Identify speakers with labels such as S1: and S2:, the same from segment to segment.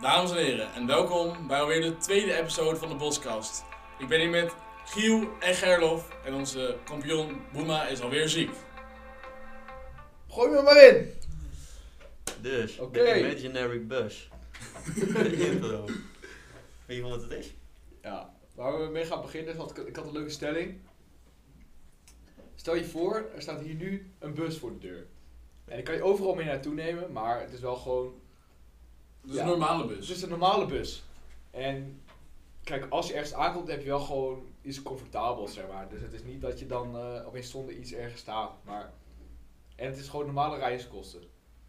S1: Dames en heren, en welkom bij alweer de tweede episode van de Boskast. Ik ben hier met Giel en Gerlof en onze kampioen Boema is alweer ziek. Dus
S2: Gooi me maar in!
S3: Dus,
S2: Oké.
S3: de imaginary bus. de intro. Weet je wat het is?
S2: Ja, waar we mee gaan beginnen, is, want ik- ik had een leuke stelling. Stel je voor, er staat hier nu een bus voor de deur. En die kan je overal mee naartoe nemen, maar het is wel gewoon...
S1: Dus
S2: Ja.
S1: een normale
S2: Het
S1: bus.
S2: is een normale bus. En kijk, als je ergens aankomt, heb je wel gewoon iets comfortabels, zeg maar. Dus het is niet dat je dan eh, opeens zonder iets ergens staat, maar... En het is gewoon normale reiskosten.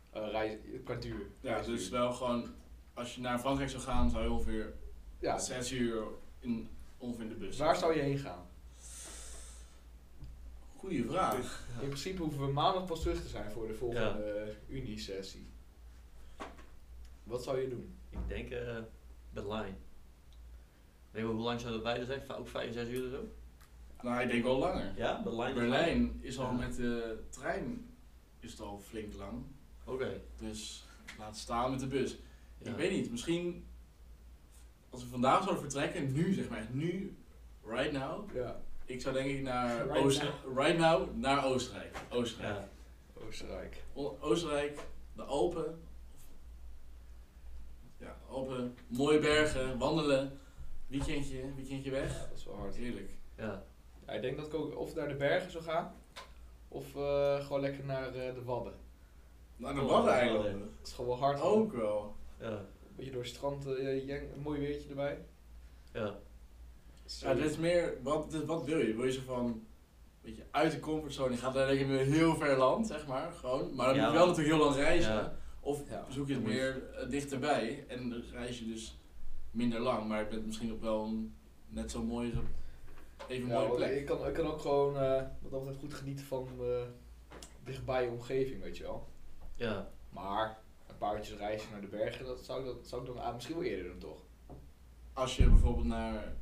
S2: Eh reis, qua duur.
S1: Ja,
S2: Reisduur.
S1: dus wel gewoon, als je naar Frankrijk zou gaan, zou je ongeveer
S2: Ja, dus
S1: 6 uur in, ongeveer in de bus.
S2: waar zou je heen gaan?
S1: Goeie vraag.
S2: In principe hoeven we maandag pas terug te zijn voor de volgende eh, Unie-sessie. Wat zou je doen?
S3: Ik denk eh, de line. Weet je hoe lang zou dat beide zijn? Va- Ook 5, 6 uur of zo?
S1: Nou, ik denk wel langer.
S3: Ja, de line. is lang.
S1: Berlijn is al
S3: Ja.
S1: met de trein is het al flink lang.
S3: Oké.
S1: Dus laat staan met de bus.
S3: Ja.
S1: Ik weet niet, misschien als we vandaag zouden vertrekken, nu zeg maar, echt nu, right now,
S2: Ja,
S1: ik zou denk ik naar
S2: Right
S1: Oostenrijk, right now, naar Oostenrijk. Oostenrijk.
S3: Ja.
S2: Oostenrijk.
S1: O- Oostenrijk, de Alpen. Ja, Alpen, mooie bergen, wandelen, weekendje, weekendje weg.
S2: Ja, dat is wel hard.
S1: Heerlijk.
S3: ja.
S2: Ja, ik denk dat ik ook of naar de bergen zou gaan, of eh, gewoon lekker naar eh, de Wadden.
S1: Naar de Waddeneilanden.
S2: Het is gewoon wel hard. Een
S1: Ook wel.
S3: Ja.
S2: beetje door het strand, eh, jeng- een mooi weertje erbij.
S3: Ja.
S1: Ja, dit is meer, wat, dit- wat wil je? Wil je zo van, een beetje uit de comfortzone, je gaat naar een heel ver land, zeg maar, gewoon. Maar dan
S3: Ja,
S1: moet je wel
S3: want-
S1: natuurlijk heel lang reizen.
S3: Ja.
S1: Of
S2: Ja.
S1: zoek je het
S3: Dan moet
S1: meer eh, dichterbij en dan reis je dus minder lang, maar je bent misschien op wel een net zo mooie, even
S2: Ja,
S1: mooie
S2: want
S1: plek.
S2: ik, kan, ik kan ook gewoon eh, wat dat betreft goed genieten van eh, dichtbij je omgeving, weet je wel.
S3: Ja.
S2: Maar een paar uurtjes reizen naar de bergen, dat zou ik, dat zou ik dan ah, misschien wel eerder doen, toch?
S1: Als je bijvoorbeeld naar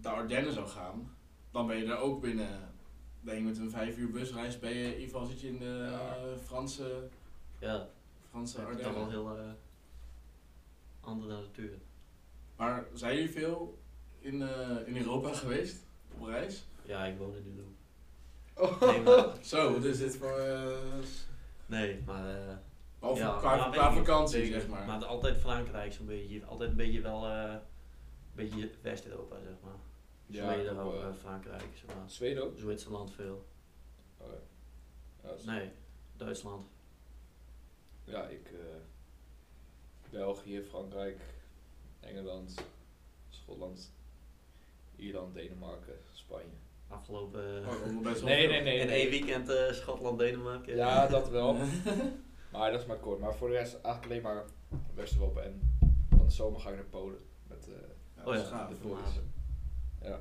S1: de Ardennen zou gaan, dan ben je daar ook binnen, denk ik met een vijf uur busreis, ben je, in ieder geval zit je in de
S2: Ja.
S1: eh, Franse,
S3: Ja.
S1: Franse
S3: Dat is toch wel
S1: Ardennen.
S3: heel eh, andere natuur.
S1: Maar zijn jullie veel in, eh, in Europa geweest op reis?
S3: Ja, ik woon in Dulu.
S1: Oh.
S3: Nee, maar...
S1: Zo, dus dit voor, eh,
S3: Nee, maar... eh,
S1: of
S3: ja,
S1: qua,
S3: maar weet
S1: qua
S3: ik niet.
S1: vakantie
S3: Weet ik
S1: zeg
S3: niet.
S1: maar.
S3: Maar het- altijd Frankrijk zo'n beetje. Altijd een beetje wel... eh, een beetje West-Europa, zeg maar. Zweden
S2: ook,
S3: ook,
S2: eh,
S3: eh, Frankrijk, zeg maar.
S2: Zweden ook?
S3: Zwitserland veel.
S2: Oké. Ja, dat is-
S3: Nee, Duitsland.
S2: Ja, ik. eh, België, Frankrijk, Engeland, Schotland, Ierland, Denemarken, Spanje.
S3: Afgelopen. eh,
S1: Oh, dat moet best wel
S2: Nee,
S1: veel.
S2: nee, nee.
S3: in één weekend eh, Schotland, Denemarken.
S2: Ja, dat wel. maar dat is maar kort. Maar voor de rest eigenlijk alleen maar West-Europa. En van de zomer ga ik naar Polen. Met eh,
S1: Ja,
S3: Oh
S1: dat is
S3: ja,
S1: gaaf.
S2: de
S3: dat
S2: boys.
S3: later.
S2: Ja.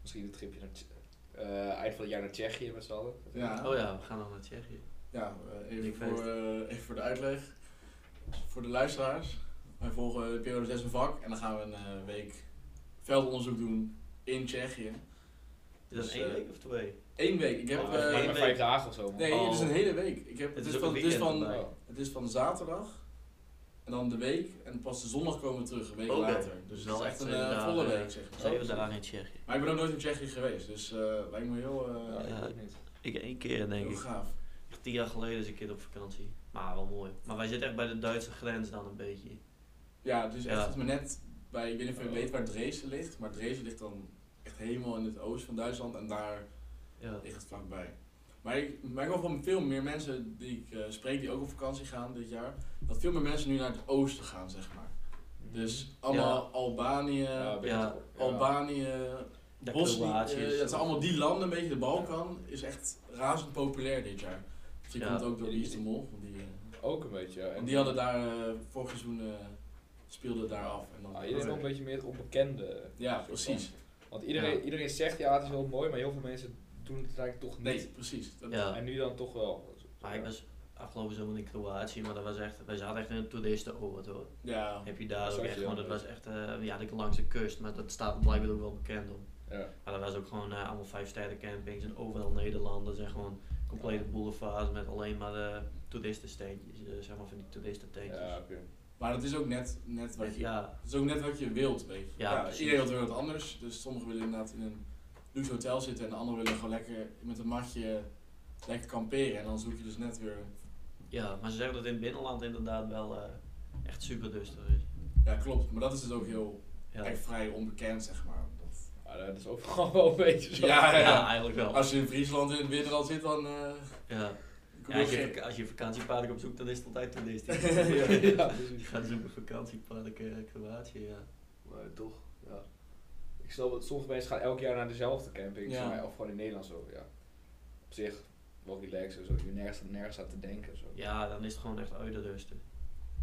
S2: Misschien een tripje naar. Tsje- eh, eind van het jaar naar Tsjechië met z'n allen.
S1: Ja.
S3: Oh ja, we gaan dan naar Tsjechië.
S1: Ja, eh, even,
S3: Ik
S1: voor,
S3: weet
S1: eh, even voor de uitleg. Voor de luisteraars. Wij volgen de periode 6 een vak en dan gaan we een eh, week veldonderzoek doen in Tsjechië.
S3: Is dat
S1: Dus,
S3: één
S1: eh,
S3: week of twee?
S1: Eén week. Ik heb.
S2: Oh,
S1: eh,
S2: maar
S3: één
S2: vijf
S3: week.
S2: dagen of zo. man.
S1: nee, het is een
S3: Oh.
S1: hele week. Ik heb,
S3: Het
S1: het,
S3: is
S1: is
S3: ook een
S1: van, het, is
S3: weekend
S1: van,
S3: erbij.
S2: Oh.
S1: het is van zaterdag en dan de week en pas de zondag komen we terug, een week
S3: Oh, Oké.
S1: later. Dus het is
S3: Wel
S1: echt
S3: echt
S1: een
S3: zeven
S1: eh,
S3: dagen,
S1: volle
S3: ja.
S1: week, zeg maar.
S3: Zeven dagen in Tsjechië.
S1: Maar ik ben ook nooit in Tsjechië geweest, dus eh, lijkt me heel, eh,
S2: Ja, ik
S3: Ja.
S2: weet niet.
S3: Ik één keer denk
S1: heel
S3: ik.
S1: gaaf.
S3: Echt Tien jaar geleden is een keer op vakantie. Maar wel mooi. Maar wij zitten echt bij de Duitse grens dan een beetje.
S1: Ja, dus echt
S3: Ja.
S1: als me net bij, ik weet niet of je
S2: Oh.
S1: weet waar Dresden ligt, maar Dresden ligt dan echt helemaal in het oosten van Duitsland en daar
S3: Ja.
S1: ligt het vlakbij. Maar ik merk wel van veel meer mensen die ik eh, spreek, die ook op vakantie gaan dit jaar, dat veel meer mensen nu naar het oosten gaan, zeg maar. Dus allemaal Albanië,
S2: Ja, weet
S3: Ja.
S2: ik wel. Ja.
S1: Albanië,
S3: De
S1: Bosnië,
S3: Kroatiërs.
S1: eh, dat zijn allemaal die landen, een beetje de Balkan, is echt razend populair dit jaar. Dus je
S3: Ja.
S1: komt ook door de Istanbul, want die, eh,
S2: Ook een beetje, ja.
S1: want die hadden daar eh, vorig seizoen, eh, speelden daar af. En dan
S2: Ah, iedereen wil een beetje meer het onbekende.
S1: Ja,
S2: soort
S1: precies.
S2: van. Want iedereen,
S3: Ja.
S2: iedereen zegt ja, het is heel mooi, maar heel veel mensen doen het eigenlijk toch niet.
S1: Nee, Ah, precies. Dat-
S3: Ja.
S2: En nu dan toch wel.
S3: Maar ik was afgelopen zomer in Kroatië, maar dat was echt, wij zaten echt in een toeristenoord hoor.
S1: Ja,
S3: Heb je daar
S2: Oh, Dat
S3: ook
S2: zag
S3: echt
S2: je, ja.
S3: gewoon, dat was echt, eh, ja, langs de kust, maar dat staat blijkbaar ook wel bekend om.
S2: Ja.
S3: Maar dat was ook gewoon eh, allemaal vijf sterren campings en overal Nederlanders en gewoon complete boulevards met alleen maar eh toeristensteentjes, eh, zeg maar van die toeristententjes.
S2: Ja, oké.
S1: dat Maar dat is ook net, net wat je
S3: Ja,
S1: dat is ook net wat je wilt, weet je.
S3: Ja,
S1: Ja,
S3: precies.
S1: iedereen wil weer wat anders. Dus sommigen willen inderdaad in een luxe hotel zitten en de anderen willen gewoon lekker met een matje lekker kamperen. En dan zoek je dus net weer...
S3: ja, maar ze zeggen dat in het binnenland inderdaad wel eh, echt super duister is.
S1: Ja, klopt. Maar dat is dus ook heel
S3: Ja.
S1: echt vrij onbekend, zeg maar. Dat-
S2: Ja, Ah, dat is ook gewoon wel een beetje zo.
S1: Ja, ja.
S3: Ja, eigenlijk wel.
S1: Als je in Friesland in het binnenland zit, dan... eh
S3: Ja.
S1: kom
S3: Ja,
S1: je
S3: als,
S1: ook
S3: je,
S1: geen-
S3: als je vakantiepark opzoekt, dan is het altijd toeristisch.
S1: Ja.
S2: Ja,
S3: Je
S2: precies.
S3: gaat zoeken vakantiepark eh, Kroatië, ja.
S2: Maar toch, ja. Ik snap dat sommige mensen gaan elk jaar naar dezelfde camping,
S1: Ja.
S2: zeg maar, of gewoon in Nederland zo, ja. Op zich, wel relaxed en zo, je nergens, nergens aan te denken. Zo.
S3: Ja, dan is het gewoon echt uit de rusten.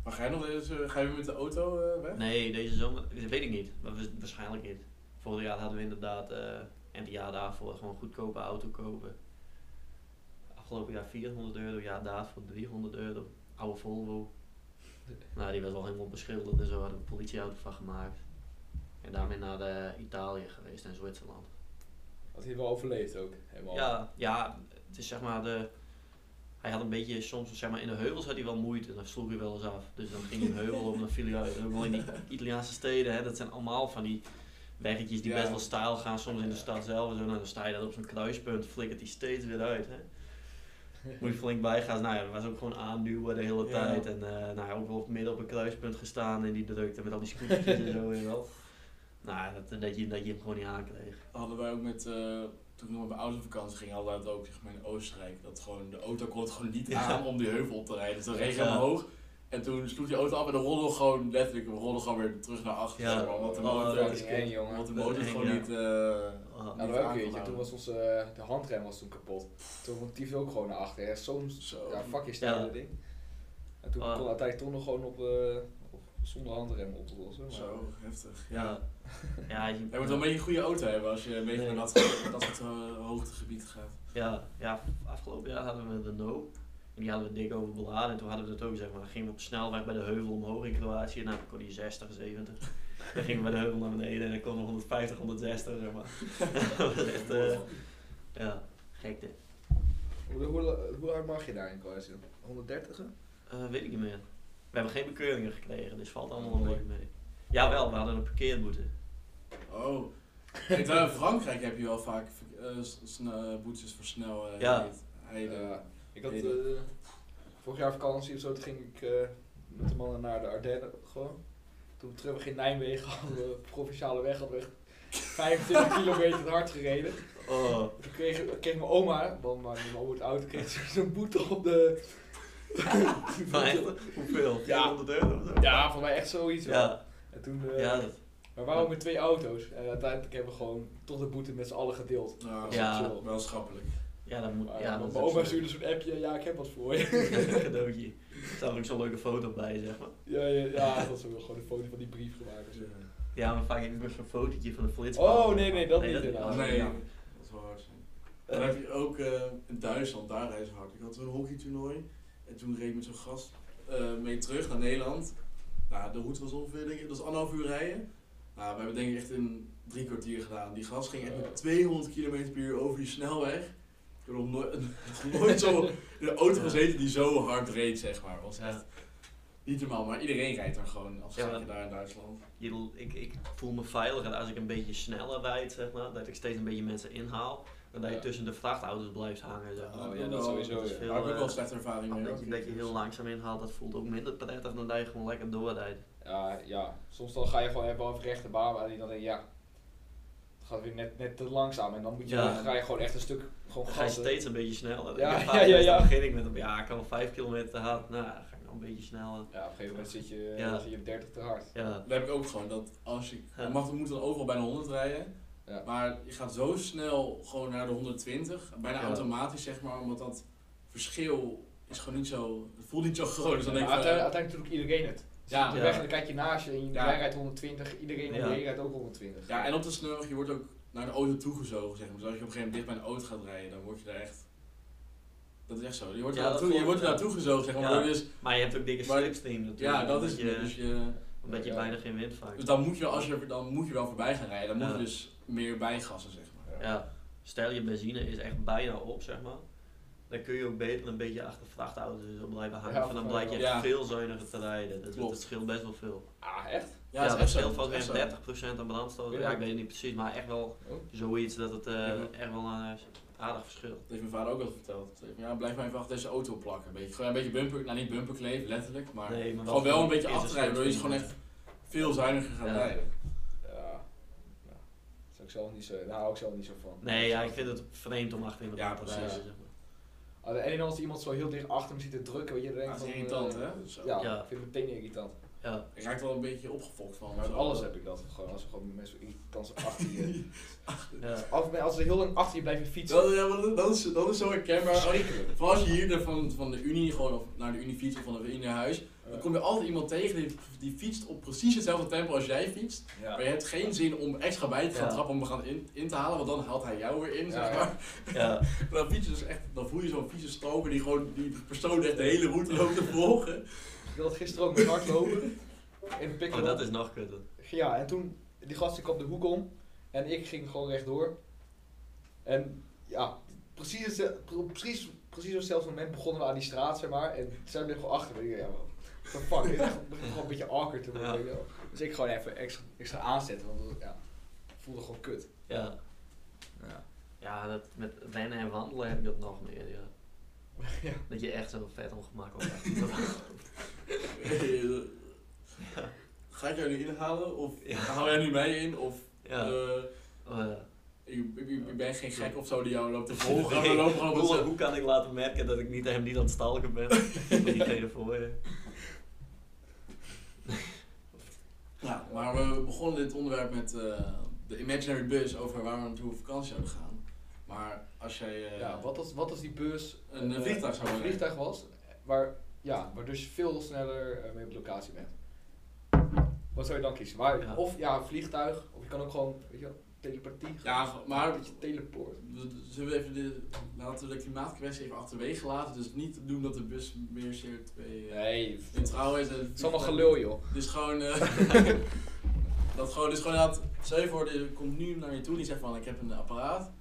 S1: Maar ga je nog eens, eh, ga je weer met de auto eh, weg?
S3: Nee, deze zomer, dat weet ik niet. Maar wa- waarschijnlijk niet. Vorig jaar hadden we inderdaad, eh, en het jaar daarvoor, gewoon goedkope auto kopen. Afgelopen jaar 400 euro, jaar daarvoor 300 euro. Oude Volvo. Nou, die was wel helemaal beschilderd en zo hadden we een politieauto van gemaakt. En daarmee naar eh, Italië geweest en Zwitserland.
S2: Had hij wel overleefd ook, helemaal.
S3: Ja, ja, het is zeg maar de. Hij had een beetje soms, zeg maar, in de heuvels had hij wel moeite en dan sloeg hij wel eens af. Dus dan ging hij een heuvel op en dan viel hij uit. En ook wel in die Italiaanse steden, hè, dat zijn allemaal van die weggetjes die
S1: Ja.
S3: best wel stijl gaan, soms in de
S2: Ja.
S3: stad zelf. En zo. Nou, dan sta je dat op zo'n kruispunt, flikkert hij steeds weer uit. Hè. Moet je flink bijgaan. Nou ja, dat was ook gewoon aanduwen de hele
S1: Ja.
S3: tijd. En eh nou, ja, ook wel midden op een kruispunt gestaan in die drukte met al die scooters en zo. weet je wel. Nou, dat, dat, je, dat je hem gewoon niet aankreeg.
S1: Hadden wij ook met... eh, toen ik nog op mijn autovakantie ging, hadden wij dat ook zeg maar, in Oostenrijk. Dat gewoon, de auto kon het gewoon niet
S3: Ja.
S1: aan om die heuvel op te rijden. Dus dan reed je
S3: Ja.
S1: helemaal hoog. En toen sloeg die auto af en dan rolde we gewoon letterlijk, we rolden gewoon weer terug naar achter.
S3: Ja.
S1: zeg maar, omdat de
S2: wat een
S3: Oh,
S1: motor,
S3: dat
S2: motor. eng, jongen.
S1: omdat de
S3: Dat is
S1: motor het
S3: eng,
S1: gewoon
S3: ja.
S1: niet... eh
S3: Ah.
S2: Nou,
S1: niet
S2: dat ook
S1: aan kon
S2: keertje.
S1: houden.
S2: Toen was onze eh, de handrem was toen kapot. Toen vond Tief ook gewoon naar achter. hè. Soms,
S1: Zo.
S2: ja, fuck je staande
S3: Ja.
S2: ding. En toen
S3: Ah.
S2: kon uiteindelijk toch nog gewoon op, eh, op, zonder handrem op te lossen. Maar,
S1: Zo, heftig. Ja.
S3: Ja. Ja, je,
S1: Je moet wel een beetje een goede auto hebben als je een beetje
S3: Nee.
S1: naar dat, dat soort eh, hoogtegebied gaat.
S3: Ja, ja, afgelopen jaar hadden we de No. En die hadden we dik overbeladen. En toen hadden we dat ook, zeg maar. Dan gingen we op de snelweg bij de heuvel omhoog in Kroatië. Nou, dan kon die 60, 70. Dan gingen we bij de heuvel naar beneden en dan kon er 150, 160, zeg maar. dat was echt, eh, ja, gekte.
S2: Hoe, hoe, hoe hard mag je daarin Kroatië? 130?
S3: Eh, weet ik niet meer. We hebben geen bekeuringen gekregen, dus valt allemaal wel mee. mee. Jawel, we hadden een parkeerboete. eh.
S1: Oh. Kijk, daar in Frankrijk heb je wel vaak eh, s- s- eh, boetes voor snel eh,
S3: Ja.
S1: heet- heiden.
S2: Ja. Ik had
S1: Nee,
S2: eh, vorig jaar vakantie of zo, toen ging ik eh, met de mannen naar de Ardennen gewoon. Toen terug we in Nijmegen hadden we op de provinciale weg hadden we echt 25 kilometer te hard gereden.
S3: Oh,
S2: Toen kreeg, kreeg mijn oma, want mijn mijn oma wordt oud, kreeg ze zo'n boete op de...
S3: maar echt, hoeveel?
S2: Ja.
S3: 400 euro of zo?
S2: Ja, voor mij echt zoiets. hoor.
S3: Ja,
S2: En toen, eh,
S3: ja, dat,
S2: Maar waarom met twee auto's? En uiteindelijk hebben we gewoon toch de boete met z'n allen gedeeld.
S1: Nou,
S3: Ja.
S2: chill.
S1: Wel schappelijk.
S3: ja, dat moet...
S2: Maar
S3: ja, dat
S2: mijn
S3: is
S2: oma
S3: ook zo.
S2: stuurde zo'n appje, ja ik heb wat voor je.
S3: Een cadeautje. Er staat ook zo'n leuke foto bij, zeg maar.
S2: Ja, ja, ja dat is ook wel gewoon een foto van die brief gemaakt. en zo.
S3: Ja, maar vaak heb ik nog zo'n fotootje van de flitspaal.
S2: Oh, nee, nee, dat niet
S1: Ah,
S2: inderdaad.
S1: nee,
S2: Ja.
S1: dat is wel hard zijn. Dan heb je ook eh, in Duitsland, daar reis ik hard. Ik had een hockeytoernooi en toen reed ik met zo'n gast eh, mee terug naar Nederland. Nou, de route was ongeveer, denk ik, dat is anderhalf uur rijden. Nou, we hebben denk ik echt in drie kwartier gedaan. Die gast ging echt met 200 km per uur over die snelweg. Ik heb nog nooit, nog nooit zo in een auto
S3: Ja.
S1: gezeten die zo hard reed, zeg maar. Was
S3: Ja.
S1: echt niet normaal, maar iedereen rijdt daar gewoon als
S3: Ja,
S1: gek
S3: maar-
S1: daar in Duitsland.
S3: Je- Ik, ik voel me veiliger als ik een beetje sneller rijd, zeg maar. Dat ik steeds een beetje mensen inhaal. Dan dat je
S2: Ja.
S3: tussen de vrachtauto's blijft hangen, zeg maar.
S2: Oh, ja, dat sowieso,
S1: Daar heb
S2: ja.
S1: ik ook
S3: eh,
S1: wel slechte ervaring mee.
S3: Dat je,
S1: hoor.
S2: dus-
S3: dat je heel langzaam inhaalt, dat voelt ook minder prettig dan dat je gewoon lekker doorrijdt.
S2: Oh, Ja, ja, soms dan ga je gewoon even over rechte baan en dan denk je, ja, het gaat weer net, net te langzaam en dan moet je,
S3: Ja.
S2: dan ga je gewoon echt een stuk gewoon
S3: Dan ga je
S2: gas.
S3: steeds een beetje sneller.
S2: Ja,
S3: Ik heb
S2: ja,
S3: vaak
S2: ja,
S3: best-
S2: ja.
S3: Dan begin ik met, een- ja, ik kan wel 5 kilometer te hard. Nou, dan ga ik nog een beetje sneller.
S2: Ja, op een gegeven moment zit je,
S3: Ja.
S2: zit je op 30 te hard.
S3: Ja,
S1: Dat heb ik ook gewoon, dat als je,
S3: Ja.
S1: je mag, je moet dan overal bijna 100 rijden,
S2: Ja.
S1: maar je gaat zo snel gewoon naar de 120, bijna
S3: Ja.
S1: automatisch zeg maar, omdat dat verschil is gewoon niet zo, het voelt niet zo groot, dus dan
S2: Maar
S1: denk ik van,
S2: uiteindelijk, uiteindelijk doet ook iedereen het. Dus
S1: Ja.
S2: op de
S3: Ja.
S2: weg en dan kijk je naast je en
S1: Ja.
S2: jij rijdt 120, iedereen om
S3: Ja.
S2: je heen rijdt ook 120.
S1: ja en op de snelweg, je wordt ook naar de auto toegezogen zeg maar, dus als je op een gegeven moment dicht bij een auto gaat rijden, dan word je daar echt, dat is echt zo, je wordt,
S3: Ja,
S1: er,
S3: dat
S1: naartoe, je
S3: voelt-
S1: wordt er
S3: ja.
S1: naartoe gezogen zeg maar,
S3: Ja.
S1: waardoor je dus,
S3: maar je hebt ook dikke
S1: Maar-
S3: slipstream natuurlijk.
S1: ja dat is
S3: omdat
S1: het, dus,
S3: je,
S1: je,
S3: omdat je
S2: Ja.
S3: bijna geen wind vangt.
S1: dus dan moet je, als je, dan moet je wel voorbij gaan rijden, dan moet
S3: Ja.
S1: je dus meer bijgassen zeg maar.
S3: Ja, stel je benzine is echt bijna op, zeg maar. Dan kun je ook beter een beetje achter vrachtauto's op blijven hangen.
S2: Ja,
S3: want dan blijkt je echt
S1: ja.
S3: veel zuiniger te rijden. Dat, dat
S1: Klopt.
S3: scheelt best wel veel.
S2: Ah, echt?
S3: Ja,
S1: is
S3: dat
S1: echt zo.
S3: scheelt
S1: Dat is
S3: vast
S1: echt
S3: weer
S1: zo.
S3: 30% aan brandstoot.
S2: Ja.
S3: Ja. ik weet het niet precies, maar echt wel
S2: Oh.
S3: zoiets dat het eh,
S1: Ja.
S3: echt wel een eh, aardig verschil.
S1: Dat heeft mijn vader ook wel verteld. Hij zei van, Ja, blijf maar even achter deze auto plakken. Een beetje, gewoon een beetje bumper, nou niet bumper kleef, letterlijk, maar
S3: Nee, maar
S1: gewoon wel een beetje
S3: is het
S1: achterijden, waardoor je
S3: verschil.
S1: gewoon echt veel zuiniger gaat
S3: Ja.
S1: rijden.
S2: Ja. ja. Zou ik zelf niet zo, daar hou ik zelf niet zo van.
S3: Nee, ja, ik vind het vreemd om achterin
S1: Ja,
S3: te
S1: precies.
S3: rijden. zeg maar.
S2: Aan de ene kant Ah, als iemand zo heel dicht achter me ziet te drukken, weet je, dan denk
S1: Dat
S2: ik
S1: is
S2: van,
S1: irritant,
S2: eh,
S1: hè? Zo.
S2: Ja,
S3: Ja.
S2: ik vind het meteen irritant.
S3: Ja.
S1: Ik raak er wel een beetje opgefokt van.
S2: Maar met
S1: zo.
S2: alles heb ik dat. Gewoon als er gewoon mensen irritant zijn achter je.
S3: Ja.
S2: Af, als ze heel lang achter je blijven fietsen.
S1: Dat, ja, maar dat, dat is, dat is zo herkenbaar. Als je-
S2: Verschrikkelijk.
S1: Vooral als je hier naar van, van de Unie gewoon of naar de Unie fietst of van de Unie naar huis,
S2: Ja.
S1: dan kom je altijd iemand tegen die, die fietst op precies hetzelfde tempo als jij fietst.
S2: Ja.
S1: Maar je hebt geen zin om extra bij te gaan
S3: Ja.
S1: trappen om hem gaan in, in te halen, want dan haalt hij jou weer in.
S2: Ja,
S1: zeg
S2: ja.
S1: maar.
S3: Ja.
S1: Maar Dan, fiets je dus echt, dan voel je zo'n vieze stalker die gewoon die persoon echt de hele route loopt te volgen.
S2: Ik wilde gisteren ook met hardlopen. In de pick
S3: Oh, dat is nog kutter.
S2: Ja, en toen, die gast die kwam de hoek om. En ik ging gewoon rechtdoor. En ja, precies, het- pre- precies, precies op hetzelfde moment begonnen we aan die straat, zeg maar. En zij bleef gewoon achter me. Ik dacht, ja, what the fuck. Ik dacht, het begint gewoon een beetje awkward te worden.
S3: Ja.
S2: weet je wel. Dus ik gewoon even extra, extra aanzetten, want dat- ja, ik voelde gewoon kut.
S3: Ja.
S2: Ja.
S3: Ja, dat met rennen en wandelen heb je dat nog meer. Ja.
S2: Ja.
S3: Dat je echt zo vet ongemakkelijk bent.
S1: eh, Ga ik jou nu inhalen? Of
S3: Ja.
S1: haal jij nu mij in? Of
S3: ja.
S1: eh,
S3: Oh, ja.
S1: ik, ik, ik ben geen gek of zo die jou loopt te volgen.
S3: Nee.
S1: We lopen gewoon op
S3: hoe,
S1: onze-
S3: hoe kan ik laten merken dat ik niet, hem niet aan het stalken ben? Met diegene voor je.
S1: Ja, maar we begonnen dit onderwerp met eh, de imaginary bus over waar we naartoe op vakantie zouden gaan. Maar als jij eh,
S2: Ja, wat als, wat als die beurs
S1: Een, eh, vliegtuig zou
S2: een
S1: worden.
S2: vliegtuig was, waar, ja, waar dus je veel sneller eh, mee op locatie bent. Wat zou je dan kiezen? Waar,
S3: Ja.
S2: Of ja, een vliegtuig, of je kan ook gewoon, weet je wel, telepathie.
S1: Ja, maar-
S2: Dat je teleport.
S1: we- Zullen we even de, laten we de klimaatkwestie even achterwege laten. Dus niet doen dat de bus meer CO2 eh,
S2: Nee,
S1: neutraal is.
S2: het is allemaal gelul, joh.
S1: Dus gewoon. eh, dat gewoon, dus gewoon dat. Stel je voor, er komt nu naar je toe die zegt van: Ik heb een apparaat.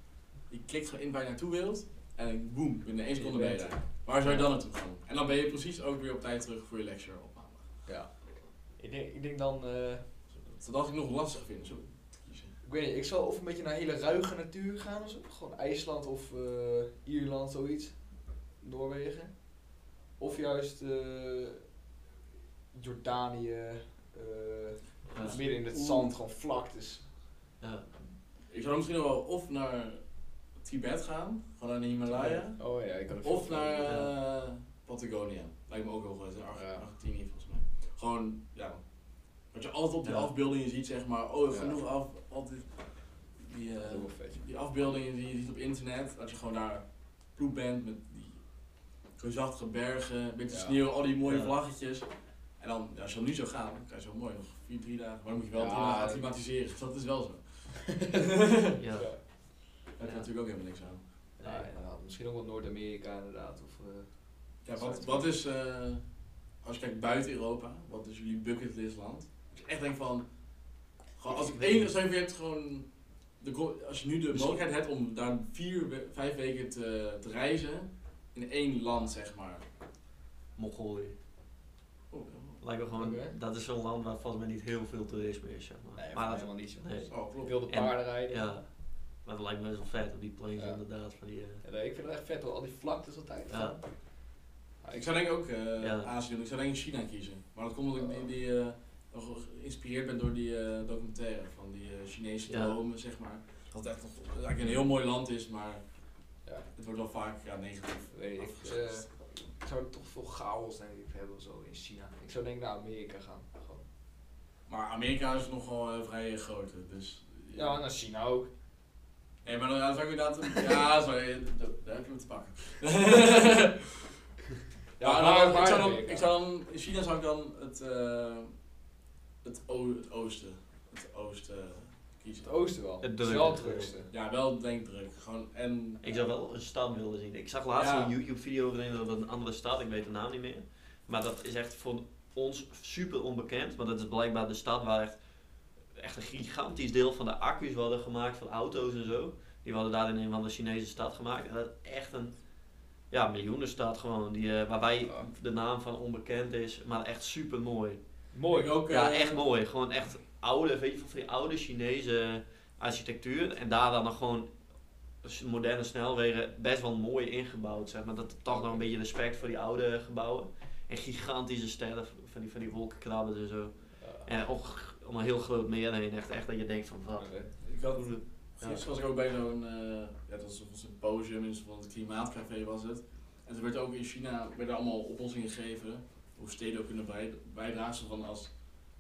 S1: Die klikt gewoon in waar je naartoe wilt. En boem, binnen één seconde ben je daar. Waar zou je dan naartoe gaan? En dan ben je precies ook weer op tijd terug voor je lecture op maandag.
S2: Ja. Ik denk, ik denk dan, eh,
S1: Zodat- Dat had ik nog lastig vind. Zo. te kiezen.
S2: ik weet niet, ik zou of een beetje naar hele ruige natuur gaan of zo. Gewoon IJsland of eh, Ierland, zoiets. Noorwegen. Of juist eh, Jordanië. eh,
S3: Ja.
S2: Of midden in het
S1: Oeh.
S2: zand, gewoon vlak. Dus
S3: Ja.
S1: Ik zou misschien nog wel of naar Tibet gaan, gewoon naar de Himalaya.
S2: Oh ja, ik kan het
S1: Of
S2: veel-
S1: naar eh,
S3: Ja.
S1: Patagonia. Lijkt me ook heel goed. In Arge-
S2: Ja.
S1: Argentinië volgens mij. Gewoon, ja. Wat je altijd op die
S3: Ja.
S1: afbeeldingen ziet, zeg maar. Oh,
S2: Ja.
S1: genoeg af. Altijd die,
S2: Dat
S1: eh,
S2: is ook wel vet, ja.
S1: die afbeeldingen die je ziet op internet. Dat je gewoon daar ploeg bent met die reusachtige bergen, een beetje
S2: Ja.
S1: sneeuw, al die mooie
S3: Ja.
S1: vlaggetjes. En dan, ja, als je dan nu zou gaan, dan kan je zo mooi nog vier, drie dagen. Maar dan moet je wel
S2: Ja,
S1: drie dagen
S2: dat-
S1: acclimatiseren. Dat is wel zo.
S3: Ja.
S2: Ja.
S1: Daar heb je
S3: Ja.
S1: natuurlijk ook helemaal niks aan.
S2: Ja, inderdaad. Misschien ook wel Noord-Amerika inderdaad. Of, eh,
S1: Ja, wat, wat is, eh, als je kijkt buiten Europa, wat is jullie bucketlist land? Als je echt denkt van, gewoon als ik één, stel je voor, je hebt gewoon, de, gro- als je nu de mogelijkheid hebt om daar vier, we- vijf weken te, te reizen, in één land zeg maar.
S3: Mongolië.
S1: Oh,
S3: Lijkt me gewoon,
S2: Oké.
S3: dat is zo'n land waar volgens mij niet heel veel toerisme is. Zeg maar.
S2: nee,
S3: maar
S2: maar
S3: dat-
S2: helemaal niet zo.
S3: nee.
S1: oh, klopt.
S2: Wilde
S3: En-
S2: paarden rijden.
S3: Ja, maar dat lijkt me best wel vet op die planes
S2: Ja.
S3: inderdaad. Van die, eh,
S2: Ja, nee, ik vind het echt vet hoor, al die vlaktes altijd.
S3: Ja.
S2: Ja,
S1: Ik zou denk ik ook eh,
S3: Ja.
S1: Azië doen, ik zou denk ik China kiezen. Maar dat komt omdat ik die, die eh, nog geïnspireerd ben door die eh, documentaire van die eh, Chinese
S3: Ja. Oh.
S1: dromen zeg maar. Dat het echt nog, eigenlijk een heel mooi land is, maar
S2: ja,
S1: het wordt wel vaak ja, negatief.
S2: weet ik. eh,
S1: afgeschetst.
S2: Ik zou toch veel chaos denk ik hebben of zo in China. Ik zou denk ik naar Amerika gaan. Gewoon.
S1: Maar Amerika is nogal eh, vrij groot, hè, dus...
S2: Ja, naar China ook.
S1: Hé, maar dan zou ik inderdaad... ja, sorry, d- d- daar heb je me te pakken. ja, maar, dan- ik, zou dan,
S2: Amerika.
S1: ik zou dan... In China zou ik dan het, eh het, o- het oosten... Het oosten kiezen.
S2: Het oosten wel.
S3: Het
S2: Het is wel het
S3: drukste.
S2: drukste.
S1: Ja, wel denkdruk. Gewoon, en...
S3: Ik zou wel een stad willen zien. Ik zag laatst
S1: Ja.
S3: een YouTube-video over een, over een andere stad, ik weet de naam niet meer. Maar dat is echt voor ons super onbekend. Maar dat is blijkbaar de stad waar echt, echt een gigantisch deel van de accu's worden gemaakt van auto's en zo. Die worden daar in een van de Chinese stad gemaakt. En dat is echt een Ja, miljoenen staat gewoon. Die, eh, waar wij
S2: Ja.
S3: de naam van onbekend is, maar echt super mooi.
S2: Mooi.
S1: Ik ook,
S3: Ja,
S1: eh,
S3: echt mooi. Gewoon echt oude, weet je, van die oude Chinese architectuur. En daar dan nog gewoon s- moderne snelwegen best wel mooi ingebouwd, zeg maar. Dat toch nog een beetje respect voor die oude gebouwen. En gigantische sterren van die, van die wolkenkrabbers en zo. En ook om een heel groot meer heen. Echt, echt dat je denkt van, wat?
S1: Ik had, gisteren was ik ook bij zo'n, eh, ja, dat was een symposium, in van het klimaatcafé was het. En er werd ook in China werden allemaal oplossingen gegeven, hoe steden ook kunnen bij- bijdragen van als,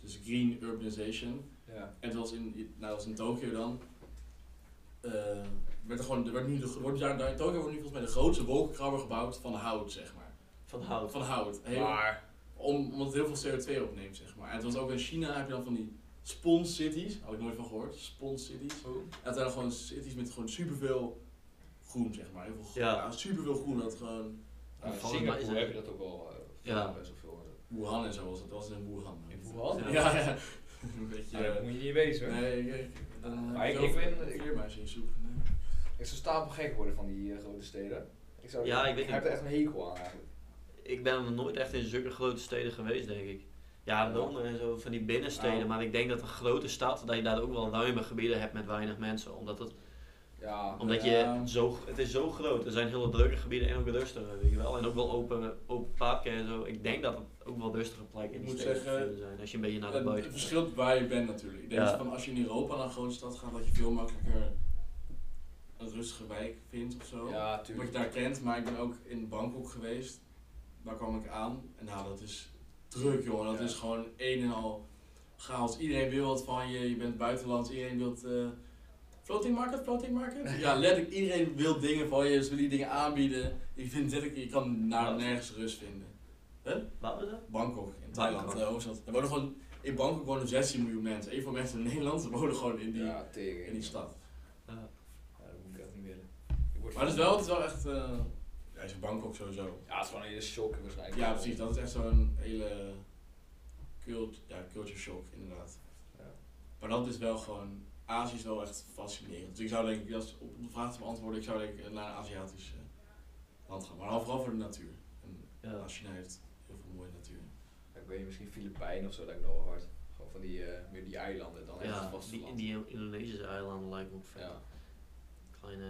S1: dus green urbanization.
S2: Ja.
S1: En dat was in, nou, dat was in Tokio dan. Eh, werd er gewoon, er werd nu de, wordt daar, daar in Tokio wordt nu volgens mij de grootste wolkenkrabber gebouwd van hout, zeg maar.
S3: Van hout.
S1: Van hout. Heel-
S2: Maar,
S1: om, omdat het heel veel CO2 opneemt, zeg maar. En het was ook in China heb je dan van die spons cities, had ik nooit van gehoord, spons cities. En het waren gewoon cities met gewoon superveel groen, zeg maar. Heel veel groen.
S3: Ja.
S1: Ja, superveel groen. Dat gewoon
S2: in
S3: Volgens mij is
S2: Singapore
S3: het-
S2: heb je dat ook wel eh,
S3: Ja.
S2: best wel veel.
S1: Wuhan en zo was het. Dat was in Wuhan.
S2: In Wuhan?
S1: Ja, ja. Een beetje...
S2: Ja, daar
S1: eh,
S2: moet je niet wezen. hoor.
S1: Nee, ik, ik, dan
S2: Maar
S1: heb
S2: ik- ik
S1: zelf
S2: ben- ik-
S1: vleermuizen in je soep. Nee.
S2: Ik zou stapel gek worden van die eh, grote steden. Ik, zou,
S3: Ja, ik weet
S2: heb
S3: niet.
S2: er echt een hekel aan eigenlijk.
S3: Ik ben nog nooit echt in zulke grote steden geweest, denk ik. Ja, Londen en zo, van die binnensteden.
S2: Nou.
S3: Maar ik denk dat een grote stad, dat je daar ook wel ruime gebieden hebt met weinig mensen. Omdat, het,
S2: Ja,
S3: omdat
S1: Ja.
S3: je zo, het is zo groot. Er zijn hele drukke gebieden en ook rustige, weet je wel. En ook wel open, open parken en zo. Ik denk dat het ook wel rustige plekken in
S1: Ik
S3: die
S1: moet
S3: steden te
S1: zeggen,
S3: vinden zijn. Als je een beetje naar de
S1: Het,
S3: buiten
S1: het verschilt waar je bent natuurlijk. Ik denk
S3: Ja.
S1: dat van als je in Europa naar een grote stad gaat, dat je veel makkelijker een rustige wijk vindt of zo.
S2: Ja,
S1: Wat je
S2: tuurlijk.
S1: daar kent, maar ik ben ook in Bangkok geweest. Daar kwam ik aan en nou, dat is druk jongen. Dat
S2: Ja.
S1: is gewoon een en al chaos. Iedereen wil wat van je, je bent buitenlands, iedereen wil... eh floating market, floating market? Ja, letterlijk, iedereen wil dingen van je, ze willen die dingen aanbieden. Ik vind letterlijk, je kan daar
S3: Wat?
S1: nergens rust vinden.
S3: Waar was dat?
S1: Bangkok, in Thailand, de hoofdstad. Er wonen gewoon, in Bangkok wonen 16 miljoen mensen. Even veel mensen in Nederland ze wonen gewoon in die,
S2: Ja, tegen.
S1: in die stad.
S2: Ja, dat moet ik echt niet willen. Ik word
S1: Maar het is
S2: van-
S1: wel, het is wel echt... eh ja, is in Bangkok sowieso.
S2: Ja, het is gewoon een hele shock waarschijnlijk.
S1: Ja, precies. Dat is echt zo'n hele cult, ja, culture shock, inderdaad.
S2: Ja.
S1: Maar dat is wel gewoon... Azië is wel echt fascinerend. Dus ik zou denk ik, als op de vraag te beantwoorden, ik zou denk ik naar een Aziatisch eh, land gaan. Maar dan vooral voor de natuur. En
S3: Eh, Ja.
S1: nou, China heeft heel veel mooie natuur.
S2: Ik weet niet, misschien Filipijnen of zo lijkt me nog wel hard. Gewoon van die, eh, meer die eilanden dan echt het
S3: Ja, die,
S2: vasteland.
S3: die Indonesische eilanden lijken me ook vet.
S2: Ja.
S3: kleine.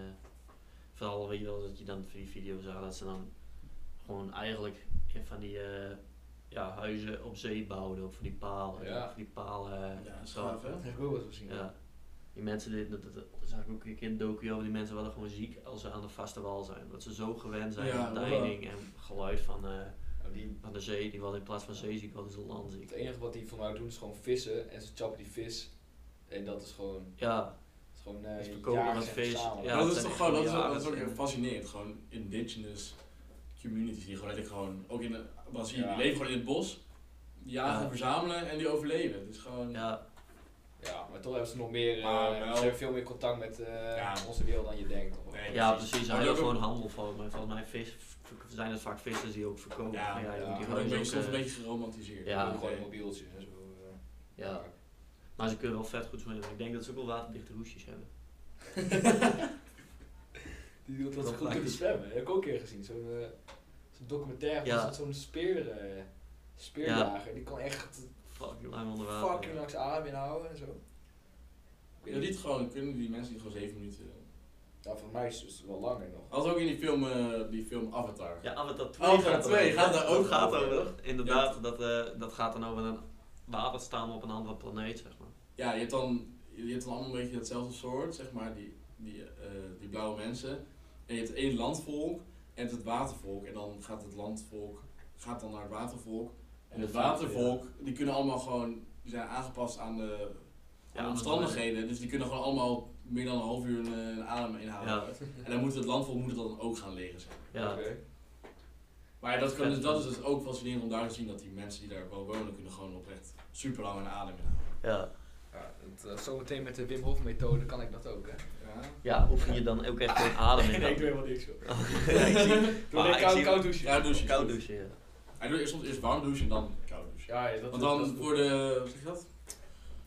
S3: Vooral weet je wel dat je dan van die video's zag dat ze dan gewoon eigenlijk in van die eh, ja, huizen op zee bouwden, op van die palen.
S2: Ja.
S3: Van die palen.
S1: Ja,
S3: eh,
S1: dat is
S3: zo.
S1: gaaf, hè?
S2: Dat heb ik ook wel eens gezien.
S3: Ja. Die mensen, die- dat, dat, dat zag ik ook een keer in docu over, die mensen waren gewoon ziek als ze aan de vaste wal zijn. Omdat ze zo gewend zijn
S1: Ja,
S3: aan
S1: wow.
S3: deining en geluid van, eh,
S2: Nou, die,
S3: van de zee. Die worden in plaats van zeeziek, worden ze landziek.
S2: het enige wat die voor mij doen is gewoon vissen en ze chappen die vis. En dat is gewoon,
S3: Ja,
S2: dat is gewoon
S3: Dus
S2: eh
S3: verkopen
S2: jagen
S3: dat
S2: en
S3: vis,
S2: verzamelen.
S3: ja.
S1: dat
S3: het
S1: is toch
S3: zijn echt
S1: gewoon, dat is,
S3: goede
S1: ook- dat is ook heel
S3: jagers en-
S1: fascinerend. Gewoon indigenous communities die gewoon, eigenlijk gewoon ook in eh, Brazilië,
S2: Ja.
S1: die leven gewoon in het bos, die jagen,
S3: Ja.
S1: verzamelen en die overleven. Het is gewoon,
S3: ja,
S2: Ja, maar toch hebben ze nog meer, eh,
S1: Maar wel-
S2: ze hebben veel meer contact met eh,
S1: Ja.
S2: onze wereld dan je denkt. Toch? wel.
S1: Nee.
S3: ja,
S1: precies.
S3: precies.
S1: Maar
S3: Hij
S1: dat
S3: wil
S1: ook-
S3: gewoon handel van. Maar volgens mij vis, v- zijn het vaak vissers die ook verkopen.
S1: Ja,
S3: Van, ja, je
S2: ja.
S3: moet
S1: die
S3: die
S1: worden een
S3: huizen
S1: beetje, soms
S3: ook,
S1: een
S3: eh,
S1: beetje geromantiseerd.
S2: Ja,
S3: Ja.
S2: gewoon
S1: Oké.
S2: mobieltjes en zo. eh.
S3: ja. Maar ze kunnen wel vet goed zwemmen. Ik denk dat ze ook wel waterdichte hoesjes hebben.
S2: Die doen dat
S3: Dat
S2: ze goed kunnen
S3: praktisch.
S2: zwemmen. Dat heb ik ook een keer gezien. Zo'n eh, zo'n documentaire
S3: Ja.
S2: was het zo'n speer, eh, speerjager. Die kan echt
S3: Fucking lang onder water.
S2: fucking langs adem inhouden en zo.
S1: Ja, niet gewoon, kunnen die mensen die gewoon 7 minuten.
S2: Ja, voor mij is het dus wel langer nog.
S1: Had ook in die film, eh, die film Avatar.
S3: Ja, Avatar 2
S1: Avatar
S3: gaat,
S1: 2 Oh, gaat daar ook
S3: gaat
S1: over,
S3: over. Inderdaad, dat, eh, dat gaat dan over een waterstaan op een andere planeet, zeg maar.
S1: Ja, je hebt dan, je hebt dan allemaal een beetje hetzelfde soort, zeg maar, die, die, eh, die blauwe mensen. En je hebt één landvolk en het watervolk. En dan gaat het landvolk gaat dan naar het watervolk. En het watervolk, die kunnen allemaal gewoon, die zijn aangepast aan de, aan de
S3: aan
S1: omstandigheden. Dus die kunnen gewoon allemaal meer dan een half uur een, eh, adem inhalen.
S3: Ja.
S1: En dan moet het landvolk moet het dan ook gaan leren. Zeg. maar.
S3: Ja,
S2: Oké.
S1: Maar ja, dat, kan, dus, dat is dus ook fascinerend om daar te zien dat die mensen die daar wel wonen, kunnen gewoon oprecht super lang een adem inhalen.
S3: ja.
S2: Ja, dat, eh, zometeen met de Wim Hof methode kan ik dat ook, hè?
S1: Ja.
S3: ja, oef je dan ook echt gewoon adem in.
S2: nee,
S3: dan.
S2: ik doe helemaal niks, joh.
S3: Ja, ik zie-
S2: Doe
S3: Maar
S2: alleen
S3: ik
S2: koud,
S3: zie-
S2: koud douchen.
S1: Ja, douchen.
S3: Koud douchen, ja.
S1: Hij doet eerst soms eerst warm douchen en dan koud douchen.
S2: Ja, ja, dat
S1: Want
S2: dat-
S1: dan voor de, hoe zeg je dat?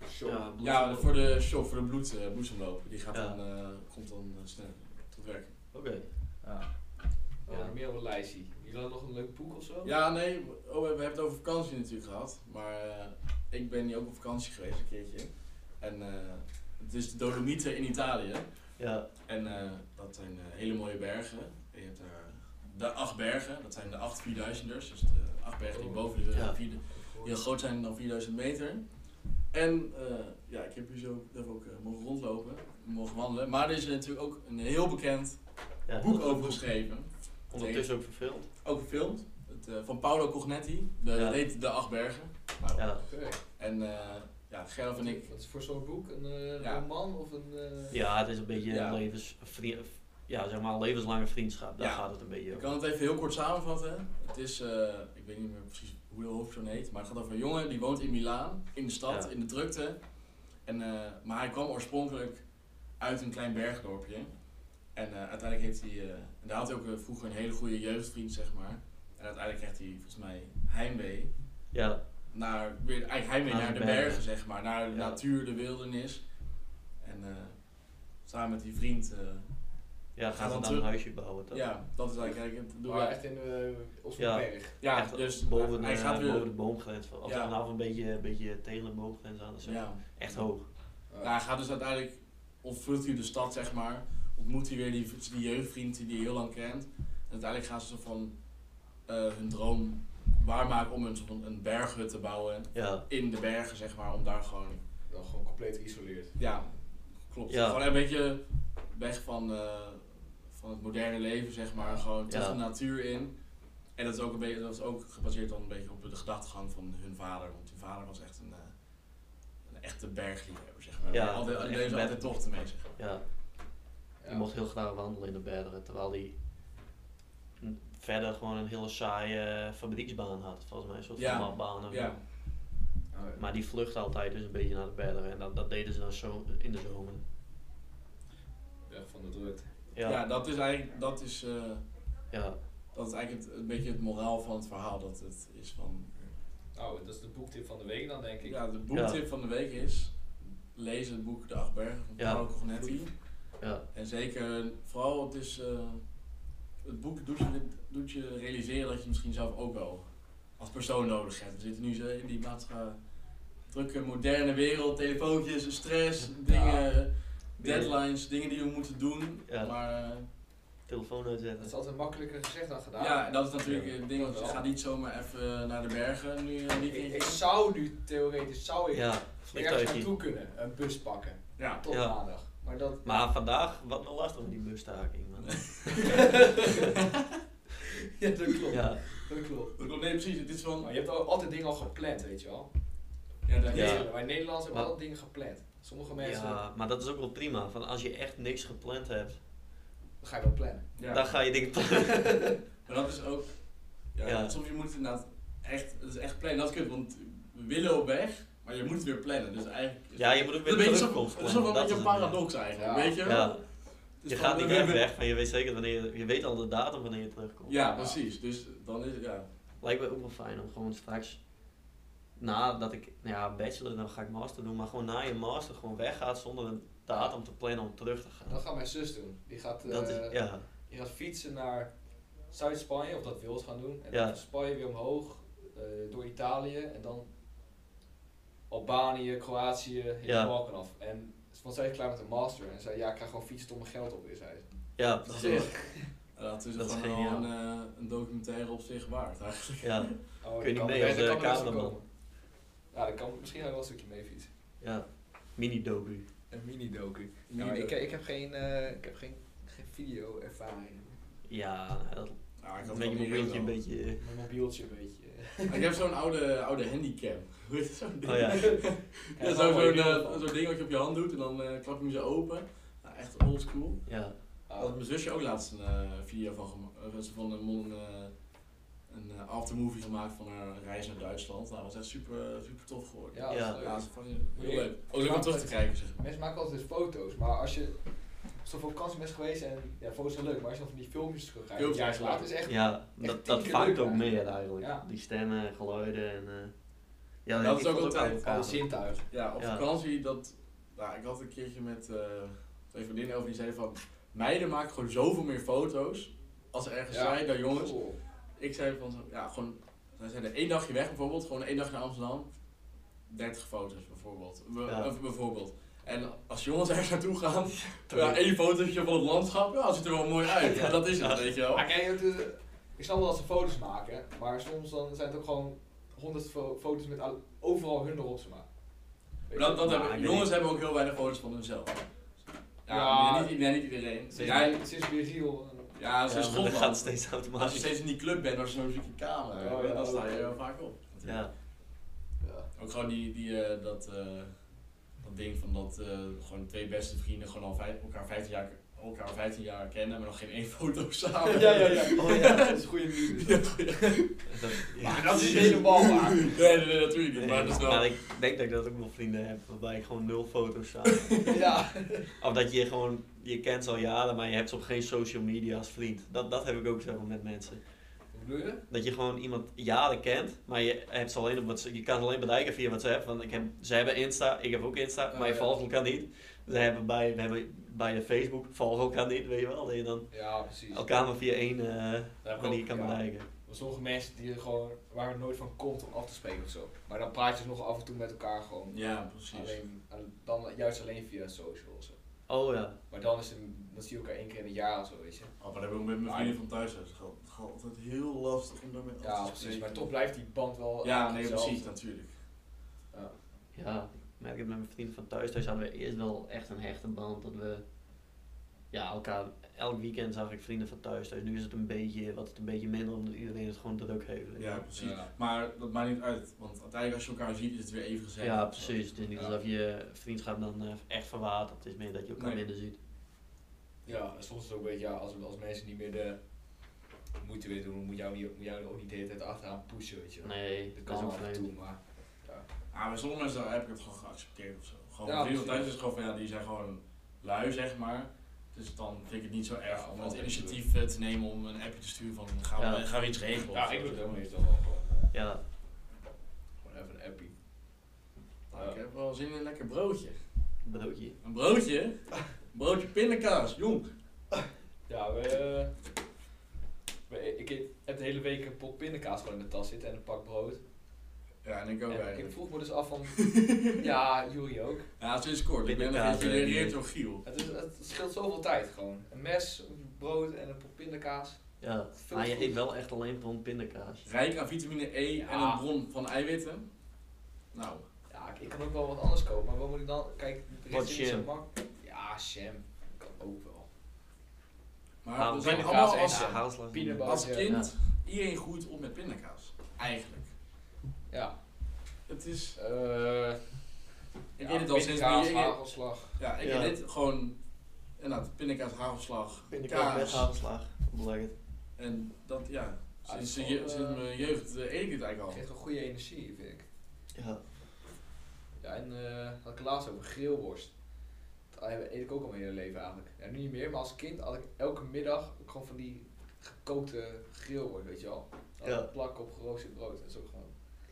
S2: Sure.
S1: Ja, voor de shock, voor de bloed, eh, bloedsomloop. Die gaat
S3: Ja.
S1: dan, eh, komt dan eh, sneller tot werk.
S3: Oké.
S2: Ja. Oké. Oh,
S3: Ja.
S2: nog meer op een lijstje. Jullie hadden nog een leuk boek of zo?
S1: Ja, nee, oh, we hebben het over vakantie natuurlijk gehad. Maar eh, ik ben hier ook op vakantie geweest een keertje. En eh, het is de Dolomieten in Italië.
S3: Ja,
S1: En eh, dat zijn eh, hele mooie bergen. En Je hebt daar de acht bergen, dat zijn de acht 4000ers. Dus de acht bergen die
S2: Oh.
S1: boven de
S3: Ja.
S1: vierde, heel groot zijn dan 4000 meter. En eh, ja, ik heb hier zo daar ook eh, mogen rondlopen, mogen wandelen. Maar er is natuurlijk ook een heel bekend
S3: ja
S1: boek over geschreven.
S3: Ondertussen ook verfilmd.
S1: Ook gefilmd. Het, eh, van Paolo Cognetti. De,
S3: Ja.
S1: Dat heet De Acht Bergen. Nou,
S3: Ja,
S2: Oké.
S1: En eh ja, Gerlof en ik.
S2: Wat is voor zo'n boek? Een eh,
S1: Ja.
S2: roman of een... eh,
S3: ja het is een beetje
S1: Ja.
S3: een levens, vriend, ja, zeg maar een levenslange vriendschap. Daar
S1: Ja.
S3: gaat het een beetje
S1: Ik
S3: om.
S1: kan het even heel kort samenvatten. Het is, eh, ik weet niet meer precies hoe de hoofdpersoon heet, maar het gaat over een jongen die woont in Milaan, in de stad,
S3: Ja.
S1: in de drukte. En, eh, maar hij kwam oorspronkelijk uit een klein bergdorpje. En eh, uiteindelijk heeft hij, eh, en daar had hij ook eh, vroeger een hele goede jeugdvriend, zeg maar. En uiteindelijk krijgt hij volgens mij heimwee.
S3: Ja,
S1: naar, weer, eigenlijk heimwee
S3: Naar
S1: naar de
S3: de
S1: bergen,
S3: bergen.
S1: zeg maar. Naar de
S3: Ja.
S1: natuur, de wildernis. En eh, samen met die vriend. eh,
S3: ja
S1: Gaan
S3: gaat
S1: dan
S3: het dan
S1: terug.
S3: een huisje bouwen toch?
S1: ja, dat is eigenlijk het doel.
S2: maar echt in eh op zo'n
S3: Ja.
S2: berg.
S1: ja,
S3: Echt
S1: dus
S3: boven,
S1: hij
S3: eh,
S1: gaat weer.
S3: boven de boomgrens. Of
S1: Ja.
S3: nou, of een beetje, een beetje tegen de boomgrens aan. Dus
S1: ja.
S3: Echt hoog.
S1: Nou, hij gaat dus uiteindelijk, ontvlucht hij de stad, zeg maar. Ontmoet hij weer die, die jeugdvriend die hij heel lang kent. En uiteindelijk gaan ze zo van eh, hun droom waarmaken om een, soort van een berghut te bouwen.
S3: Ja,
S1: In de bergen, zeg maar, om daar gewoon
S2: Dan gewoon compleet geïsoleerd.
S1: Ja, klopt.
S3: Ja.
S1: Gewoon een beetje weg van, eh, van het moderne leven, zeg maar. Gewoon terug
S3: Ja.
S1: de natuur in. En dat is ook, een beetje, dat is ook gebaseerd dan een beetje op de gedachtegang van hun vader. Want hun vader was echt een, eh, een echte bergliefhebber, zeg maar.
S3: Ja,
S1: Ja, altijd,
S3: een
S1: die
S3: echte
S1: deed altijd
S3: berg-
S1: tochten mee, zeg maar.
S3: ja. Die mocht heel graag wandelen in de bergen, terwijl hij n- verder gewoon een hele saaie eh, fabrieksbaan had. Volgens mij een soort
S1: Ja,
S3: van landbaan. of
S1: Ja,
S3: zo. Maar die vlucht altijd dus een beetje naar de bergen en dat, dat deden ze dan zo in de zomer.
S2: Berg van de drukte.
S1: ja.
S3: Ja, ja.
S1: dat is eigenlijk, dat is, eh,
S3: ja.
S1: dat is eigenlijk het, een beetje het moraal van het verhaal. Dat het is van,
S2: Nou, dat is de boektip van de week dan, denk ik.
S1: ja, de boektip van de week is, lees het boek De Acht Bergen van
S3: Ja.
S1: Paolo Cognetti. En zeker, vooral het is, eh, het boek doet je, doet je realiseren dat je misschien zelf ook wel als persoon nodig hebt. We zitten nu zo in die maatschappij, drukke moderne wereld, telefoontjes, stress, dingen, deadlines, dingen die we moeten doen.
S3: Ja.
S1: Maar eh,
S3: telefoon
S2: Dat is
S3: uitzetten.
S2: altijd makkelijker gezegd dan gedaan.
S1: ja, dat is natuurlijk
S2: Ja.
S1: het ding, want je
S2: Ja.
S1: gaat niet zomaar even eh, naar de bergen nu eh,
S2: Ik,
S1: niet
S2: ik
S1: in.
S2: zou nu theoretisch zou Oh ik
S3: Ja,
S2: ergens
S3: vliegtuigje.
S2: naartoe kunnen, een bus pakken,
S1: Ja.
S2: tot
S3: Ja.
S2: maandag. Maar dat...
S3: Maar vandaag, wat wel lastig met die busstaking. Man.
S2: ja, dat klopt.
S3: Ja,
S2: Dat klopt.
S1: Nee, precies, het is
S2: Maar
S1: van...
S2: je hebt al, altijd dingen al gepland, weet je wel.
S1: Ja, dat
S3: Ja.
S1: is-
S2: Wij Nederlanders hebben
S3: Maar-
S2: altijd dingen gepland. Sommige mensen,
S3: ja, maar dat is ook wel prima. Van als je echt niks gepland hebt,
S2: dan ga je wel plannen.
S1: ja.
S3: dan ga je dingen plannen.
S1: Maar dat is ook. Ja,
S3: Ja.
S1: Soms je moet het inderdaad echt. Het is echt plannen. Dat is kut, want we willen op weg, maar je moet het weer plannen. Dus eigenlijk. is
S3: Ja, je moet ook
S1: het
S3: weer
S1: een
S3: de
S1: beetje zo-
S3: terugkomst
S1: Het is wel
S3: plannen.
S1: een
S3: Dat
S1: beetje een
S3: is het, ja.
S1: paradox eigenlijk.
S2: Ja.
S1: Weet je? Dus
S3: Ja.
S1: Het is
S3: Je
S1: van,
S3: gaat niet
S1: we
S3: echt
S1: hebben-
S3: weg, maar je weet zeker wanneer je, je weet al de datum wanneer je terugkomt.
S1: Ja, precies. Dus dan is het. Ja.
S3: Lijkt mij ook wel fijn om gewoon straks nadat ik, nou ja, bachelor, dan ga ik master doen, maar gewoon na je master gewoon weggaat zonder een datum te plannen om terug te gaan.
S2: Dat gaat mijn zus doen. Die gaat,
S3: Dat
S2: eh,
S3: is, ja,
S2: die gaat fietsen naar Zuid-Spanje, of dat wil ze gaan doen. En
S3: Ja.
S2: dan van Spanje weer omhoog, eh, door Italië en dan Albanië, Kroatië, helemaal
S3: Ja.
S2: Balkan af. En want zij is klaar met de master en zei ja, ik ga gewoon fietsen tot mijn geld op is. Zei ze.
S3: ja,
S1: Dat is
S3: precies.
S1: Dat is
S3: Dat is
S1: gewoon
S3: geniaal.
S1: wel een, eh, een documentaire op zich waard eigenlijk.
S3: Ja,
S2: Oh,
S3: Kun je
S2: dat
S3: niet
S2: kan-
S3: mee als,
S2: dat
S3: eh,
S2: kan wel eens
S3: cameraman?
S2: komen. Ja, dat kan, misschien ga ik wel een stukje mee fietsen.
S3: ja. Mini-dobu.
S2: Een mini-docu. Nou, ik, ik heb geen, eh, ik heb geen, geen video-ervaring.
S3: Ja, nou, dat
S1: Nou, ik had
S3: dat
S1: het
S3: met je
S1: wel
S3: mobieltje een
S1: niet
S3: beetje... eh,
S2: Mijn mobieltje een beetje.
S1: wel. Ik heb zo'n oude, oude handicam. Hoe heet zo'n ding?
S3: Oh ja.
S1: Ja,
S2: Ja,
S1: zo'n
S2: mooi
S1: zo'n,
S2: ding.
S1: eh, zo'n ding wat je op je hand doet en dan eh, klap je hem zo open. Nou, echt old school.
S3: Ja,
S1: Daar
S2: Ah,
S1: had mijn zusje ook laatst een eh, video van gemaakt. ze van een, mon- eh, een eh, aftermovie gemaakt van haar reis naar Duitsland. Nou, dat was echt super, super tof geworden.
S2: ja, dat
S3: Ja.
S2: is leuk.
S1: Ja, dat is fucking heel leuk. Ook leuk om terug te kijken, zeg maar.
S2: Mensen maken altijd foto's, maar als je zo op vakantie bent geweest en ja, foto's zijn leuk, maar als je dan van die filmpjes terugkijkt, een
S1: Filmpjes,
S2: jaar later is echt.
S3: ja
S2: tien
S3: dat, dat
S2: keer
S3: vangt
S2: leuker
S3: ook meer eigenlijk.
S2: Ja.
S3: Die stemmen, geluiden en... eh, ja,
S1: Dat is
S3: ik
S1: ook
S3: vond
S1: altijd
S3: aan elkaar.
S2: Alle zintuigen.
S1: Ja, op
S3: Ja.
S1: vakantie, dat... Nou, ik had een keertje met eh twee vriendinnen over die zeiden van... Meiden maken gewoon zoveel meer foto's. als ze ergens
S2: Ja.
S1: zijn, daar jongens.
S2: Cool.
S1: Ik zei van, zo- ja, gewoon, zij zijn er één dagje weg bijvoorbeeld, gewoon één dag naar Amsterdam. 30 foto's bijvoorbeeld. Be-
S3: Ja.
S1: eh, bijvoorbeeld. En als jongens ergens naartoe gaan, ja, één fotootje van het landschap, ja, ziet er wel mooi uit. Ja, dat is het, weet je wel.
S2: Maar kijk, het, eh, ik snap wel dat ze foto's maken, maar soms dan zijn het ook gewoon honderd fo- foto's met al- overal hun erop, zeg maar.
S1: Maar
S2: Weet je?
S1: Dat, dat
S3: Ja,
S1: hebben,
S3: ik
S1: jongens
S3: weet-
S1: hebben ook heel weinig foto's van hunzelf. Ja,
S2: Ja.
S1: maar Niet, nee, niet iedereen.
S2: Sinds,
S1: Jij,
S2: sinds Biriel. eh,
S1: ja,
S3: Ja,
S1: sinds
S3: maar dat gaat
S1: Schotland.
S3: steeds
S1: Als je
S3: automatisch.
S1: steeds in die club bent, als je zo'n zieke kamer
S2: Oh, ja.
S1: dan sta je heel vaak op.
S3: Ja,
S2: ja.
S1: Ook gewoon die, die, eh, dat, eh, dat ding van dat eh, gewoon twee beste vrienden gewoon al vijf, elkaar, 15 jaar, elkaar 15 jaar kennen, maar nog geen één foto samen.
S2: ja, ja, ja.
S3: Oh, ja.
S2: Dat is een goede dus. nieuws.
S3: dat,
S2: Maar dat is helemaal waar.
S1: Nee, nee, nee, natuurlijk niet,
S3: Nee,
S1: maar dat is wel...
S3: maar ik denk dat ik dat ook wel vrienden heb, waarbij ik gewoon nul foto's samen
S2: Ja.
S3: Of dat je gewoon, je kent ze al jaren, maar je hebt ze op geen social media als vriend. Dat, dat heb ik ook zo met mensen.
S2: Wat bedoel je?
S3: Dat je gewoon iemand jaren kent, maar je, hebt ze alleen op WhatsApp, je kan ze alleen bereiken via WhatsApp. Want ik heb, ze hebben Insta, ik heb ook Insta,
S2: Oh,
S3: maar je
S2: ja.
S3: volgt elkaar niet. Ze hebben bij, we hebben bij de Facebook, volgen elkaar niet, weet je wel. Dat je dan
S2: Ja, precies.
S3: elkaar maar via één eh,
S2: Daar heb ik
S3: manier
S2: ook,
S3: kan
S2: ja.
S3: bereiken.
S2: Want sommige mensen die er gewoon, waar het nooit van komt om af te spreken of zo. Maar dan praat je nog af en toe met elkaar gewoon.
S1: Ja, precies.
S2: Alleen, eh, dan juist alleen via social of zo.
S3: Oh ja,
S2: Maar dan, is het, dan zie je elkaar één keer in een jaar of zo, weet je.
S1: Oh, maar dat heb ik ook met mijn vrienden van thuis. Het gaat het gaat altijd heel lastig om daarmee af te
S2: Ja, precies.
S1: spreken.
S2: Maar toch blijft die band wel.
S1: Ja, nee,
S2: hetzelfde.
S1: precies, natuurlijk.
S2: Ja.
S3: Ja, ik merk het met mijn vrienden van thuis. Thuis hadden we eerst wel echt een hechte band. Dat we ja, elkaar, elk weekend zag ik vrienden van thuis. thuis. Nu is het een beetje, wat het een beetje minder omdat iedereen het gewoon druk heeft.
S1: Ja, precies.
S2: Ja.
S1: Maar dat maakt niet uit, want uiteindelijk als je elkaar ziet is het weer even gezellig.
S3: Ja, precies. Het is niet
S2: Ja.
S3: alsof je vriendschap dan eh, echt verwatert. Het is meer dat je elkaar
S1: Nee.
S3: minder ziet.
S2: Ja, en soms is het ook een beetje, ja, als, als mensen niet meer de moeite willen doen, moet jou, niet, moet jou ook niet de hele tijd achteraan pushen, weet je. wel.
S3: Nee,
S2: dat
S3: dat is
S2: kan
S3: ook
S2: af en toe,
S3: vreemd.
S2: maar.
S1: Ah, bij sommige mensen heb ik het gewoon geaccepteerd of zo. Gewoon
S2: Ja,
S1: mijn vrienden van
S2: precies.
S1: thuis is gewoon van ja, die zijn gewoon lui, zeg maar. Dus dan vind ik het niet zo erg om
S2: Ja,
S1: het
S2: wel,
S1: initiatief eh, te nemen om een appje te sturen van gaan we,
S3: Ja.
S1: gaan we iets regelen.
S2: Ja,
S1: of
S2: ik
S1: zo.
S2: doe het ook meestal wel gewoon. eh,
S3: Ja,
S2: Gewoon even een appie.
S1: Nou, Ik heb wel zin in een lekker broodje.
S3: broodje.
S1: Een broodje? Een broodje pindakaas, jong.
S2: Ja, we, eh, we- ik eet- heb de hele week een pot pindakaas gewoon in mijn tas zitten en een pak brood.
S1: Ja, en ik ook
S2: En ik
S1: eigenlijk.
S2: vroeg me dus af van, ja, jullie ook.
S1: Ja, sinds kort. Ik ben
S3: Pindakaas, eh,
S1: geïnspireerd
S3: die-
S1: door Giel.
S2: Het, is, het scheelt zoveel tijd gewoon. Een mes, een brood en een pot pindakaas.
S3: Ja,
S2: Veel
S3: maar je
S2: goed.
S3: eet wel echt alleen van pindakaas.
S1: Rijk aan vitamine E en
S2: Ja.
S1: een bron van eiwitten. Nou,
S2: Ja, ik, ik kan ook wel wat anders kopen, maar wat moet ik dan? Kijk, er
S3: Wat
S2: is niet zo
S3: jam?
S2: mak. Ja, sham. Kan ook wel.
S1: maar
S3: Ah,
S1: we zijn
S2: pindakaas
S1: allemaal
S2: eten.
S1: als,
S2: Ja,
S3: hagelslag.
S2: peanut
S1: als
S2: Ja.
S1: kind iedereen groeit op met pindakaas. Eigenlijk.
S2: Ja.
S1: Het is...
S2: eh
S1: Ik weet het al sinds...
S2: pindakaas,
S1: ik- ik-
S2: hagelslag.
S1: Ja, ik
S3: Ja.
S1: weet dit gewoon. Inderdaad, pindakaas, hagelslag,
S3: Pindakaas met
S1: kaas.
S3: hagelslag. Lekker.
S1: En dat, ja.
S2: Ah,
S1: Sinds,
S2: dat is
S1: je-
S2: wel,
S1: sinds
S2: eh,
S1: mijn jeugd eh, eet ik het eigenlijk al.
S2: Geeft een goede energie, vind ik.
S3: Ja.
S2: Ja, en eh had ik laatst over grillworst. Dat eet ik ook al mijn hele leven eigenlijk. Ja, nu niet meer, maar als kind had ik elke middag ook gewoon van die gekookte grillworst, weet je wel. Dan
S3: Ja.
S2: plak op geroosterd brood. Dat is ook gewoon...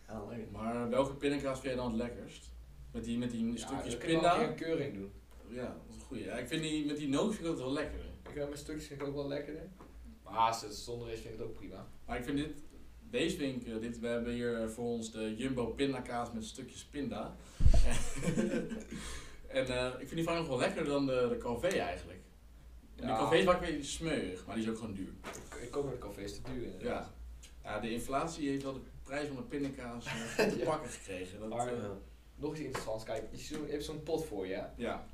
S3: Ja, lekker.
S1: Maar welke pindakaas vind je dan het lekkerst? Met die, met die
S2: Ja,
S1: stukjes
S2: ik kan wel een keer
S1: pinda?
S2: een keuring doen.
S1: Ja, dat is een goeie. Ja, ik vind die met die noot vind ik dat wel lekker.
S2: Ik heb mijn stukjes vind ik ook wel lekkerder. Maar als het zonder is, vind ik het ook prima.
S1: Maar ik vind dit, deze vind ik, eh, dit, we hebben hier eh, voor ons de jumbo pindakaas met stukjes pinda. en eh, ik vind die vaak nog wel lekkerder dan de, de Calvé eigenlijk. En De
S2: Ja.
S1: Calvé is vaak weer smeuig, maar die is ook gewoon duur.
S2: Ik, ik koop met de café, is te duur inderdaad.
S1: Ja. ja, de inflatie heeft wel de prijs van de pindakaas eh, te
S2: Ja.
S1: pakken gekregen. Dat,
S2: Maar-
S1: eh,
S3: Ja.
S2: Nog iets interessants, kijk, je, zo- je hebt zo'n pot voor je. hè?
S1: ja,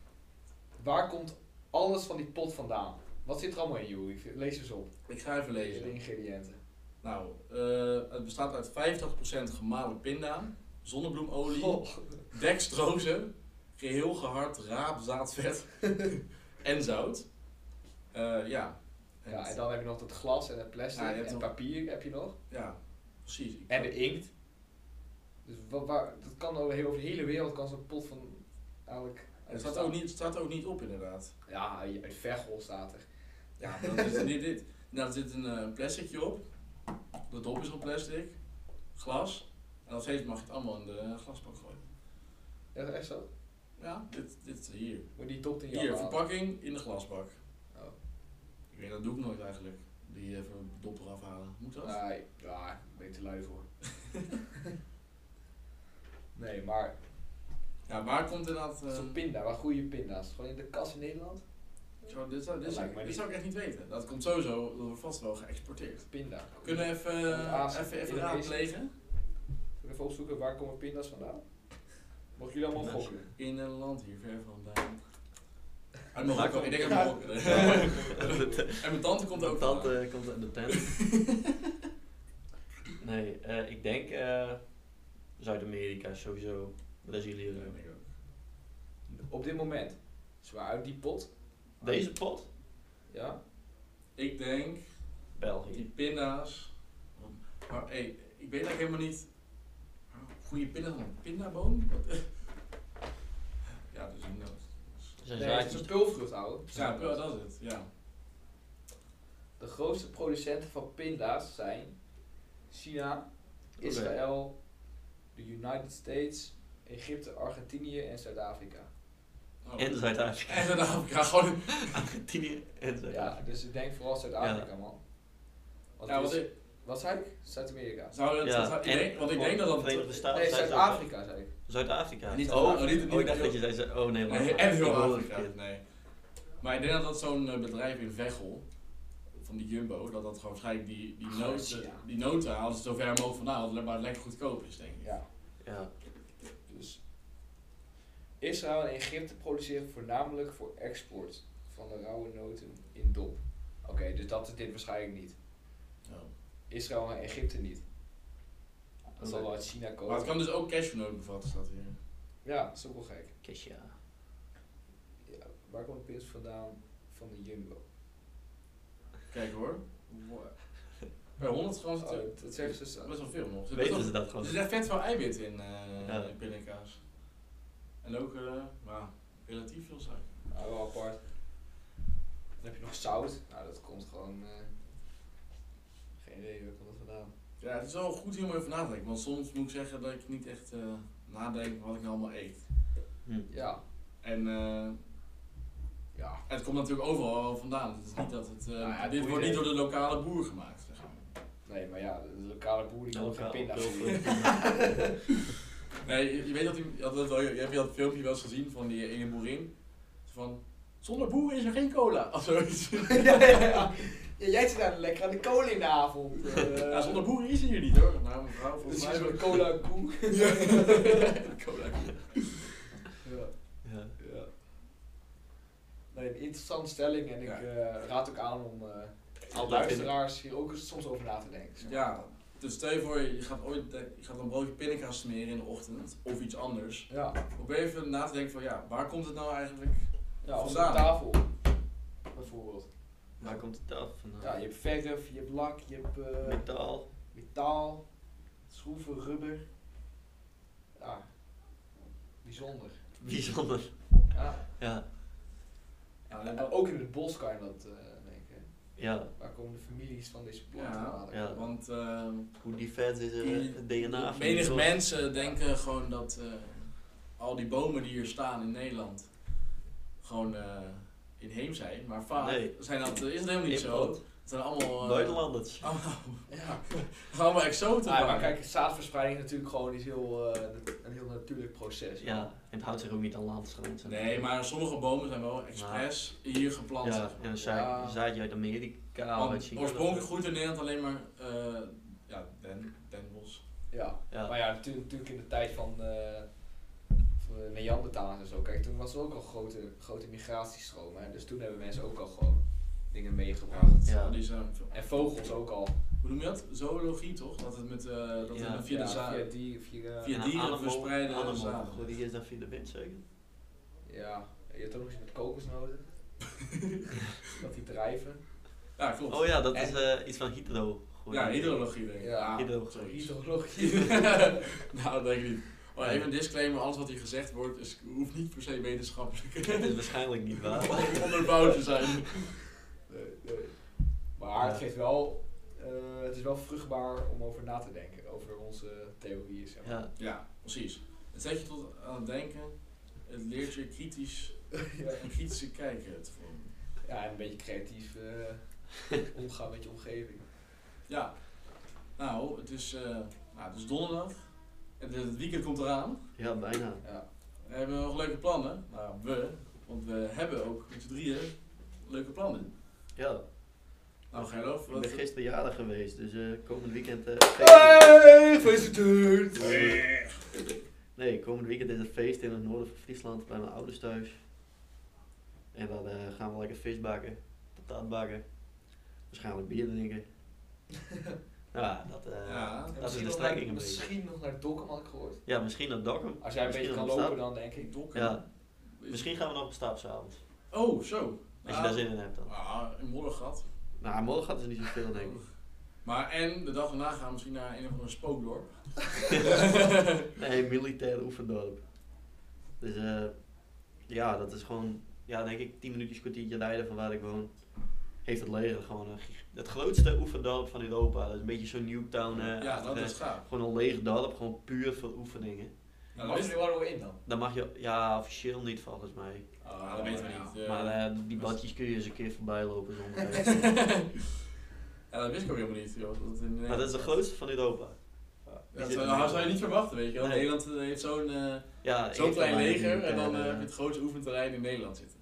S2: Waar komt alles van die pot vandaan? Wat zit er allemaal in, joh? Ik vind- Lees eens op.
S1: ik ga even
S2: De
S1: lezen.
S2: ingrediënten.
S1: Nou, eh, het bestaat uit 50% gemalen pinda, zonnebloemolie,
S2: Goh.
S1: dextrose, geheel gehard raapzaadvet en zout. Eh, ja. En-
S2: Ja, en dan heb je nog dat glas en het plastic
S1: Ja, je hebt
S2: en
S1: nog-
S2: papier heb je nog.
S1: ja, precies. Ik-
S2: En de inkt. Dus wa- waar, dat kan over, heel- over de hele wereld kan zo'n pot van eigenlijk...
S1: het staat ook, niet, het staat ook niet op inderdaad.
S2: Ja, uit Veghel staat er.
S1: Ja, maar dan is het niet dit. Nou, er zit een eh, plasticje op. De dop is van plastic. Glas. En nog steeds mag je het allemaal in de eh, glasbak gooien.
S2: Ja, is echt zo?
S1: Ja, dit, dit hier.
S2: Moet die Oh. top in je
S1: Hier,
S2: handen
S1: verpakking in de glasbak.
S2: houden.
S1: Ik weet, dat doe ik nooit eigenlijk. Die even een dopper afhalen. Moet dat?
S2: Nee, ja, ik ben je te lui voor. nee, maar
S1: Ja, waar komt inderdaad... eh,
S2: zo'n pinda, waar goede pinda's? Gewoon in de kas in Nederland?
S1: zo, dit zou, dit,
S2: Dat
S1: zou,
S2: lijkt mij
S1: dit
S2: niet.
S1: zou ik echt niet weten. Dat komt sowieso, dat wordt vast wel geëxporteerd.
S2: Pinda.
S1: Kunnen we even,
S2: Ja,
S1: eh, even, even
S2: Indonesië.
S1: raadplegen?
S2: Zullen we even opzoeken waar komen pinda's vandaan? Mogen jullie allemaal
S3: Pinda's.
S2: gokken?
S1: In een land hier ver vandaan. Uit
S3: Daar
S1: Marokko,
S3: komt-
S1: ik denk
S2: Ja.
S1: uit Marokko. en mijn tante komt ook
S3: dat
S1: vandaan.
S3: eh, komt uit de tent. nee, eh, ik denk eh, Zuid-Amerika sowieso. Brazilië. eh,
S1: Ja, denk ik ook.
S2: Op dit moment. Zwaar uit die pot.
S3: Deze pot?
S2: Ja.
S1: Ik denk, die
S3: België.
S1: pinda's. Maar hey, ik weet eigenlijk helemaal niet. Goede pinda van een pindaboom? Wat- ja, dus een noot.
S3: Dat
S2: Nee,
S3: zijn
S2: het is een
S3: zaadjes.
S2: pulvrucht, ouwe.
S1: Ja, wel, dat is het, ja.
S2: De grootste producenten van pinda's zijn China,
S3: Oké.
S2: Israël, de United States, Egypte, Argentinië en Zuid-Afrika.
S1: Oh.
S3: En Zuid-Afrika.
S1: En Zuid-Afrika, gewoon.
S3: Argentinië en
S2: Ja,
S3: Zuid-Afrika.
S2: dus ik denk vooral Zuid-Afrika, man. Want
S1: Ja,
S2: het
S1: wat
S2: is-
S1: ik,
S2: wat zei ik? Zuid-Amerika.
S1: zou dat,
S3: Ja,
S1: zou- ik
S3: en-
S1: denk, want ik denk dat dat...
S3: Verenigde Staten.
S2: Nee,
S3: Zuid-
S2: Zuid-Afrika zei ik.
S3: Zuid-Afrika.
S1: Niet-
S3: oh,
S1: oh, niet-
S3: oh, ik
S1: niet-
S3: dacht dat je zei. Zuid- Oh nee, maar.
S1: Nee, en
S3: Ik
S1: heel
S3: hoorde het
S1: Afrika,
S3: verkeerd.
S1: nee. Maar ik denk dat dat zo'n eh, bedrijf in Veghel, van die Jumbo, dat dat gewoon waarschijnlijk die, die,
S2: Ah,
S1: noten,
S2: ja.
S1: die noten halen ze zo ver mogelijk vandaan, omdat het maar lekker goedkoop is, denk ik.
S2: Ja,
S3: Ja,
S2: dus. Israël en Egypte produceren voornamelijk voor export van de rauwe noten in dop. Oké, dus dat is dit waarschijnlijk niet.
S1: Ja.
S2: Israël en Egypte niet. Dat zal wel uit China komen.
S1: Maar het kan dus ook cashewnoten bevatten, staat hier.
S2: Ja, dat is ook wel gek.
S3: Kesha.
S2: Ja, waar komt het pils vandaan van de Jumbo?
S1: Kijk hoor. Per 100 gram zit
S2: Oh,
S1: er
S2: dat zeggen ze zo.
S1: best wel veel nog. Er zit best
S3: Weten
S1: wel-
S3: ze dat
S1: Er
S3: gewoon?
S1: zit echt vet veel eiwit in, eh
S3: Ja.
S1: in pindakaas. En ook, eh, nou, relatief veel suiker.
S2: Nou, wel apart. Dan heb je nog zout. Nou, dat komt gewoon... eh, geen idee, waar komt dat vandaan?
S1: Ja, het is wel goed hier om even na te denken, want soms moet ik zeggen dat ik niet echt eh, nadenk wat ik nou allemaal eet.
S3: Hm.
S2: Ja,
S1: En eh,
S2: ja.
S1: het komt natuurlijk overal wel vandaan. Het is niet dat het, eh,
S2: Nou ja,
S1: dit
S2: boeit
S1: wordt niet
S2: niet.
S1: door de lokale boer gemaakt. Zeg maar.
S2: Nee, maar ja, de lokale boer die kan
S3: Lokaal
S2: geen pinda's
S3: pulvrucht.
S1: Nee, je, je weet dat, die, je had dat wel- je hebt dat filmpje wel eens gezien van die ene boerin. Van, zonder boeren is er geen cola, of zoiets. Eh,
S2: ja, ja, ja. Ja, jij zit daar lekker aan de kolen in de avond. eh.
S1: Ja, zonder boeren is er hier niet hoor. Nou mevrouw,
S2: Dus
S1: volgens
S2: je
S1: mij...
S2: is een cola koe.
S1: cola.
S2: Ja.
S3: Ja.
S2: Ja. Nee, een interessante stelling en ik
S1: Ja.
S2: eh, raad ook aan om eh
S3: Altijd
S2: luisteraars hier ook eens soms over na te denken. zeg maar.
S1: Ja, dus stel je voor, je gaat ooit de- je gaat een broodje pindakaas smeren in de ochtend, of iets anders.
S2: Ja,
S1: Probeer even na te denken van, ja, waar komt het nou eigenlijk?
S2: ja of
S1: Vandaan.
S2: een tafel bijvoorbeeld.
S3: Waar komt de tafel vandaan?
S2: Ja, je hebt verf, je hebt lak, je hebt eh,
S3: Metaal.
S2: metaal, schroeven, rubber. Ja, bijzonder.
S3: Bijzonder.
S2: Ja.
S3: Ja.
S1: Ja,
S2: En
S1: dat-
S2: ook in het bos kan je dat eh, denken.
S3: Ja.
S2: Waar komen de families van deze planten
S1: Ja,
S2: vandaan?
S3: ja.
S1: Want eh,
S3: Hoe divers is er het DNA van
S1: menig
S3: die
S1: mensen denken gewoon dat eh, al die bomen die hier staan in Nederland gewoon eh, inheem zijn. Maar vaak
S3: Nee.
S1: zijn dat, is het helemaal
S3: soort.
S1: niet zo.
S3: Import.
S1: Het zijn allemaal... eh,
S3: Buitenlanders.
S1: allemaal,
S2: Ja.
S1: allemaal exoten.
S2: Ah, maar
S1: maar.
S2: kijk, zaadverspreiding is natuurlijk gewoon iets heel, eh, nat- een heel natuurlijk proces.
S3: Ja. En het houdt zich ook niet aan landsgrond.
S1: Nee, maar sommige bomen zijn wel expres hier geplant.
S3: Ja,
S1: zeg maar.
S3: en een zaad-
S2: Ja.
S3: een zaadje uit Amerika of uit
S1: Want
S3: China.
S1: oorspronkelijk groeit in Nederland alleen maar eh ja, den, denbos.
S2: Ja.
S3: Ja.
S2: Maar ja, natuurlijk, natuurlijk in de tijd van, eh van de Neandertalers en zo. Kijk, toen was er ook al grote, grote migratiestromen. Hè? Dus toen hebben mensen ook al gewoon dingen meegebracht.
S3: Ja.
S1: Die zijn,
S2: En vogels ook al.
S1: hoe noem je dat? Zoologie toch? Dat het met, eh, dat
S3: Ja.
S1: het via
S2: Ja,
S1: de zaad...
S2: Via die, via,
S1: via
S3: En
S1: dieren
S3: anemonen-
S1: verspreiden
S3: anemonen.
S1: zaden.
S3: Goed, Die is dan via de wind zeker?
S2: Ja. Je hebt ook nog iets met kokosnoten. dat die drijven.
S1: Ja, klopt.
S3: Oh ja, dat
S2: En-
S3: is eh, iets van hydro. Goed.
S1: Ja, hydrologie denk ik.
S2: Ja,
S3: hydro-
S1: zoiets.
S2: Hydrologie.
S1: nou, dat denk ik niet. Maar even een disclaimer, alles wat hier gezegd wordt, is, hoeft niet per se wetenschappelijk
S3: Dat is waarschijnlijk niet waar.
S1: onderbouwd te zijn.
S2: Nee, nee. Maar het
S3: Ja.
S2: geeft wel... eh, het is wel vruchtbaar om over na te denken. Over onze theorieën, zeg maar.
S3: Ja.
S1: Ja, precies. Het zet je tot aan het denken, het leert je kritisch,
S2: Ja.
S1: een kritische kijken te vormen.
S2: Ja, en een beetje creatief eh, Omgaan met je omgeving.
S1: Ja. Nou, het is, eh, nou, het is donderdag. Het, het weekend komt eraan.
S3: Ja, bijna.
S2: Ja.
S1: We hebben nog leuke plannen. Nou, we. Want we hebben ook met z'n drieën leuke plannen.
S3: Ja,
S1: Nou, Gerlof,
S3: ik
S1: wat...
S3: ben gisteren jarig geweest, dus eh, komend weekend... eh,
S2: Hey, gefeliciteerd!
S3: Nee, komend weekend is een feest in het noorden van Friesland bij mijn ouders thuis. En dan eh, gaan we lekker vis bakken, patat bakken, waarschijnlijk bier drinken. ja, dat, eh,
S1: Ja,
S3: dat is
S2: Misschien
S3: de
S2: nog
S3: strekking
S2: naar-
S3: een beetje.
S2: Misschien nog naar Dokkum had ik gehoord.
S3: Ja, misschien dat Dokkum.
S2: Als jij een beetje
S3: Misschien
S2: kan
S3: nog
S2: lopen
S3: stap.
S2: dan denk ik.
S1: Dokken.
S3: Ja, misschien gaan we nog op stap s'avonds.
S1: Oh, zo.
S3: Als je daar zin in hebt dan.
S1: Ah, een modder gat.
S3: Nou, morgen gaat het niet zoveel denk ik.
S1: Maar en de dag erna gaan we misschien naar een of andere spookdorp.
S3: Nee, militair oefendorp. Dus eh, ja, dat is gewoon, ja, denk ik, 10 minuutjes, kwartiertje rijden van waar ik woon. Heeft het leger gewoon een gig- het grootste oefendorp van Europa. Dat is een beetje zo'n Newtown. eh,
S1: ja, dat
S3: achtige-
S1: is gaaf.
S3: Gewoon een leeg dorp, gewoon puur voor oefeningen.
S1: Nou,
S2: Mag
S1: dat
S2: je
S1: wist-
S2: er wel in dan?
S3: Daar mag je, ja, officieel niet volgens mij.
S1: Ah, dat weten we niet. eh.
S3: maar eh, die badjes kun je eens een keer voorbij lopen zonder.
S1: ja, dat wist ik ook helemaal niet, joh. Dat in eh,
S3: maar dat is de grootste van Europa.
S1: Dat zou, zou je niet verwachten, weet je wel.
S3: Nee.
S1: Nederland heeft zo'n eh,
S3: Ja,
S1: zo'n
S3: heeft
S1: klein
S3: bijna
S1: leger
S3: niet,
S1: en dan
S3: eh,
S1: eh, heb je het grootste oefenterrein in Nederland zitten.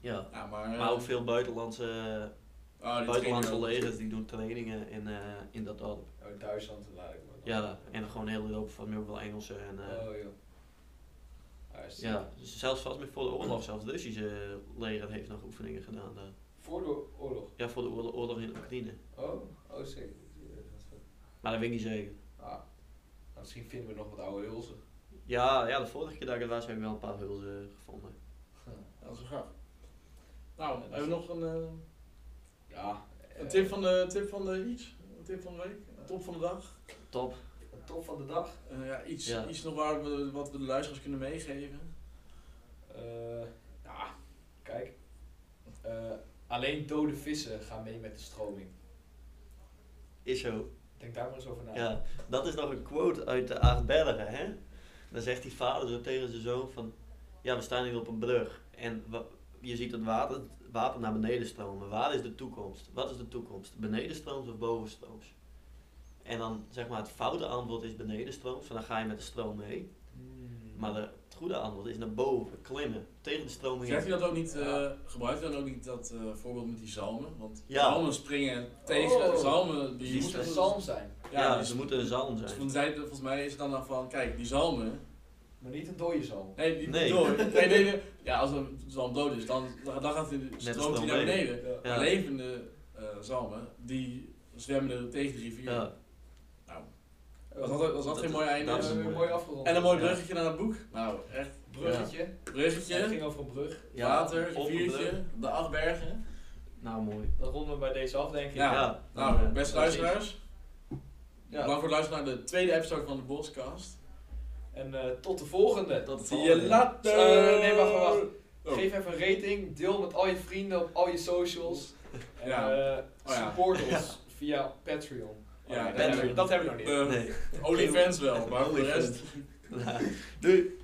S3: ja.
S1: Ja, maar, eh,
S3: Maar ook veel buitenlandse,
S1: oh, die
S3: buitenlandse
S1: trainen ook.
S3: legers die doen trainingen in, eh, in dat dorp.
S2: Oh, Duitsland laat ik maar.
S3: Ja, en gewoon heel Europa van ook wel Engelsen. En, eh,
S2: Oh joh. Ah, is-
S3: ja, dus zelfs vast met voor de oorlog, zelfs het Russische leger heeft nog oefeningen gedaan daar.
S2: Voor de oorlog.
S3: Ja, voor de oorlog, oorlog in Oekraïne.
S2: Oh, oh zeker. Dat is wel-
S3: Maar dat weet ik niet zeker.
S2: Ah. Nou, misschien vinden we nog wat oude hulzen.
S3: Ja, ja, de vorige keer dat ik er was heb ik wel een paar hulzen gevonden.
S1: Ja, Dat is wel gaaf. Nou, hebben we nog een, eh,
S2: Ja. eh,
S1: een tip, van de, tip van de iets? Een tip van de week? Een top van de dag?
S3: Top.
S2: Een top van de dag.
S1: Eh, ja, iets,
S3: Ja.
S1: iets nog waar we, wat we de luisteraars kunnen meegeven.
S2: Eh, ja, kijk. Eh, alleen dode vissen gaan mee met de stroming.
S3: Is zo.
S2: Denk daar maar eens over na.
S3: Ja, dat is nog een quote uit de Aardbergen, hè? Dan zegt die vader zo tegen zijn zoon van... Ja, we staan hier op een brug. En wa- je ziet het water, het water naar beneden stromen. Waar is de toekomst? Wat is de toekomst? Benedenstrooms of bovenstrooms? En dan, zeg maar, het foute antwoord is benedenstrooms. En dan ga je met de stroom mee.
S2: Hmm.
S3: Maar de, het goede antwoord is naar boven, klimmen. Tegen de stroom
S1: Zegt
S3: heen.
S1: hij dat ook niet, eh, gebruikt hij dan ook niet dat eh, voorbeeld met die zalmen? Want
S3: Ja.
S1: zalmen springen tegen,
S2: Oh.
S1: zalmen die,
S2: Dus die moet
S1: moeten
S2: een psalm zijn,
S1: Ja,
S3: Ja,
S1: die-
S3: ze moeten een zalm
S1: dus
S3: zijn.
S1: volgens mij- volgens mij is het dan dan van, kijk, die zalmen,
S2: maar niet een dode psalm.
S1: Nee, niet
S3: Nee.
S1: door. Nee, nee, nee. Ja, als een zalm dood is, dan, dan gaat hij, stroomt hij
S3: stroom
S1: naar
S3: mee.
S1: beneden.
S2: Ja.
S3: Ja.
S1: Maar Levende eh, zalmen, die zwemmen er tegen de rivier.
S3: Ja,
S1: Nou, was dat, was dat,
S3: Dat
S1: geen
S3: is-
S1: mooi einde?
S3: dat is
S2: Eh,
S3: een
S2: weer
S3: mooi-
S2: mooi afgerond.
S1: en een mooi
S3: Ja.
S1: bruggetje naar het boek. Nou, echt.
S2: bruggetje. Het
S1: Bruggetje,
S2: ging over een brug.
S3: Ja,
S1: water,
S3: op een
S1: riviertje, de acht bergen.
S3: nou mooi.
S2: Dat ronden we bij deze af, denk ik.
S1: Ja. Nou,
S3: eh,
S1: beste
S2: precies.
S1: luisteraars.
S2: Ja.
S1: Bedankt voor het luisteren naar de tweede episode van de Boscast.
S2: En eh, tot de volgende.
S3: Tot de
S1: Zie je
S3: volgende.
S1: later!
S2: Eh, nee, wacht, wacht, wacht.
S1: Oh.
S2: Geef even een rating, deel met al je vrienden op al je socials. En
S1: Ja.
S2: eh,
S1: Oh ja.
S2: support ons via Patreon.
S1: Ja,
S2: Oh, nee, dat
S3: Patreon.
S1: Eh,
S2: hebben we- Dat hebben we nog niet.
S1: De
S3: Nee. Nou,
S1: OnlyFans wel, maar voor de
S3: Onlyfans.
S1: rest...
S3: Doei.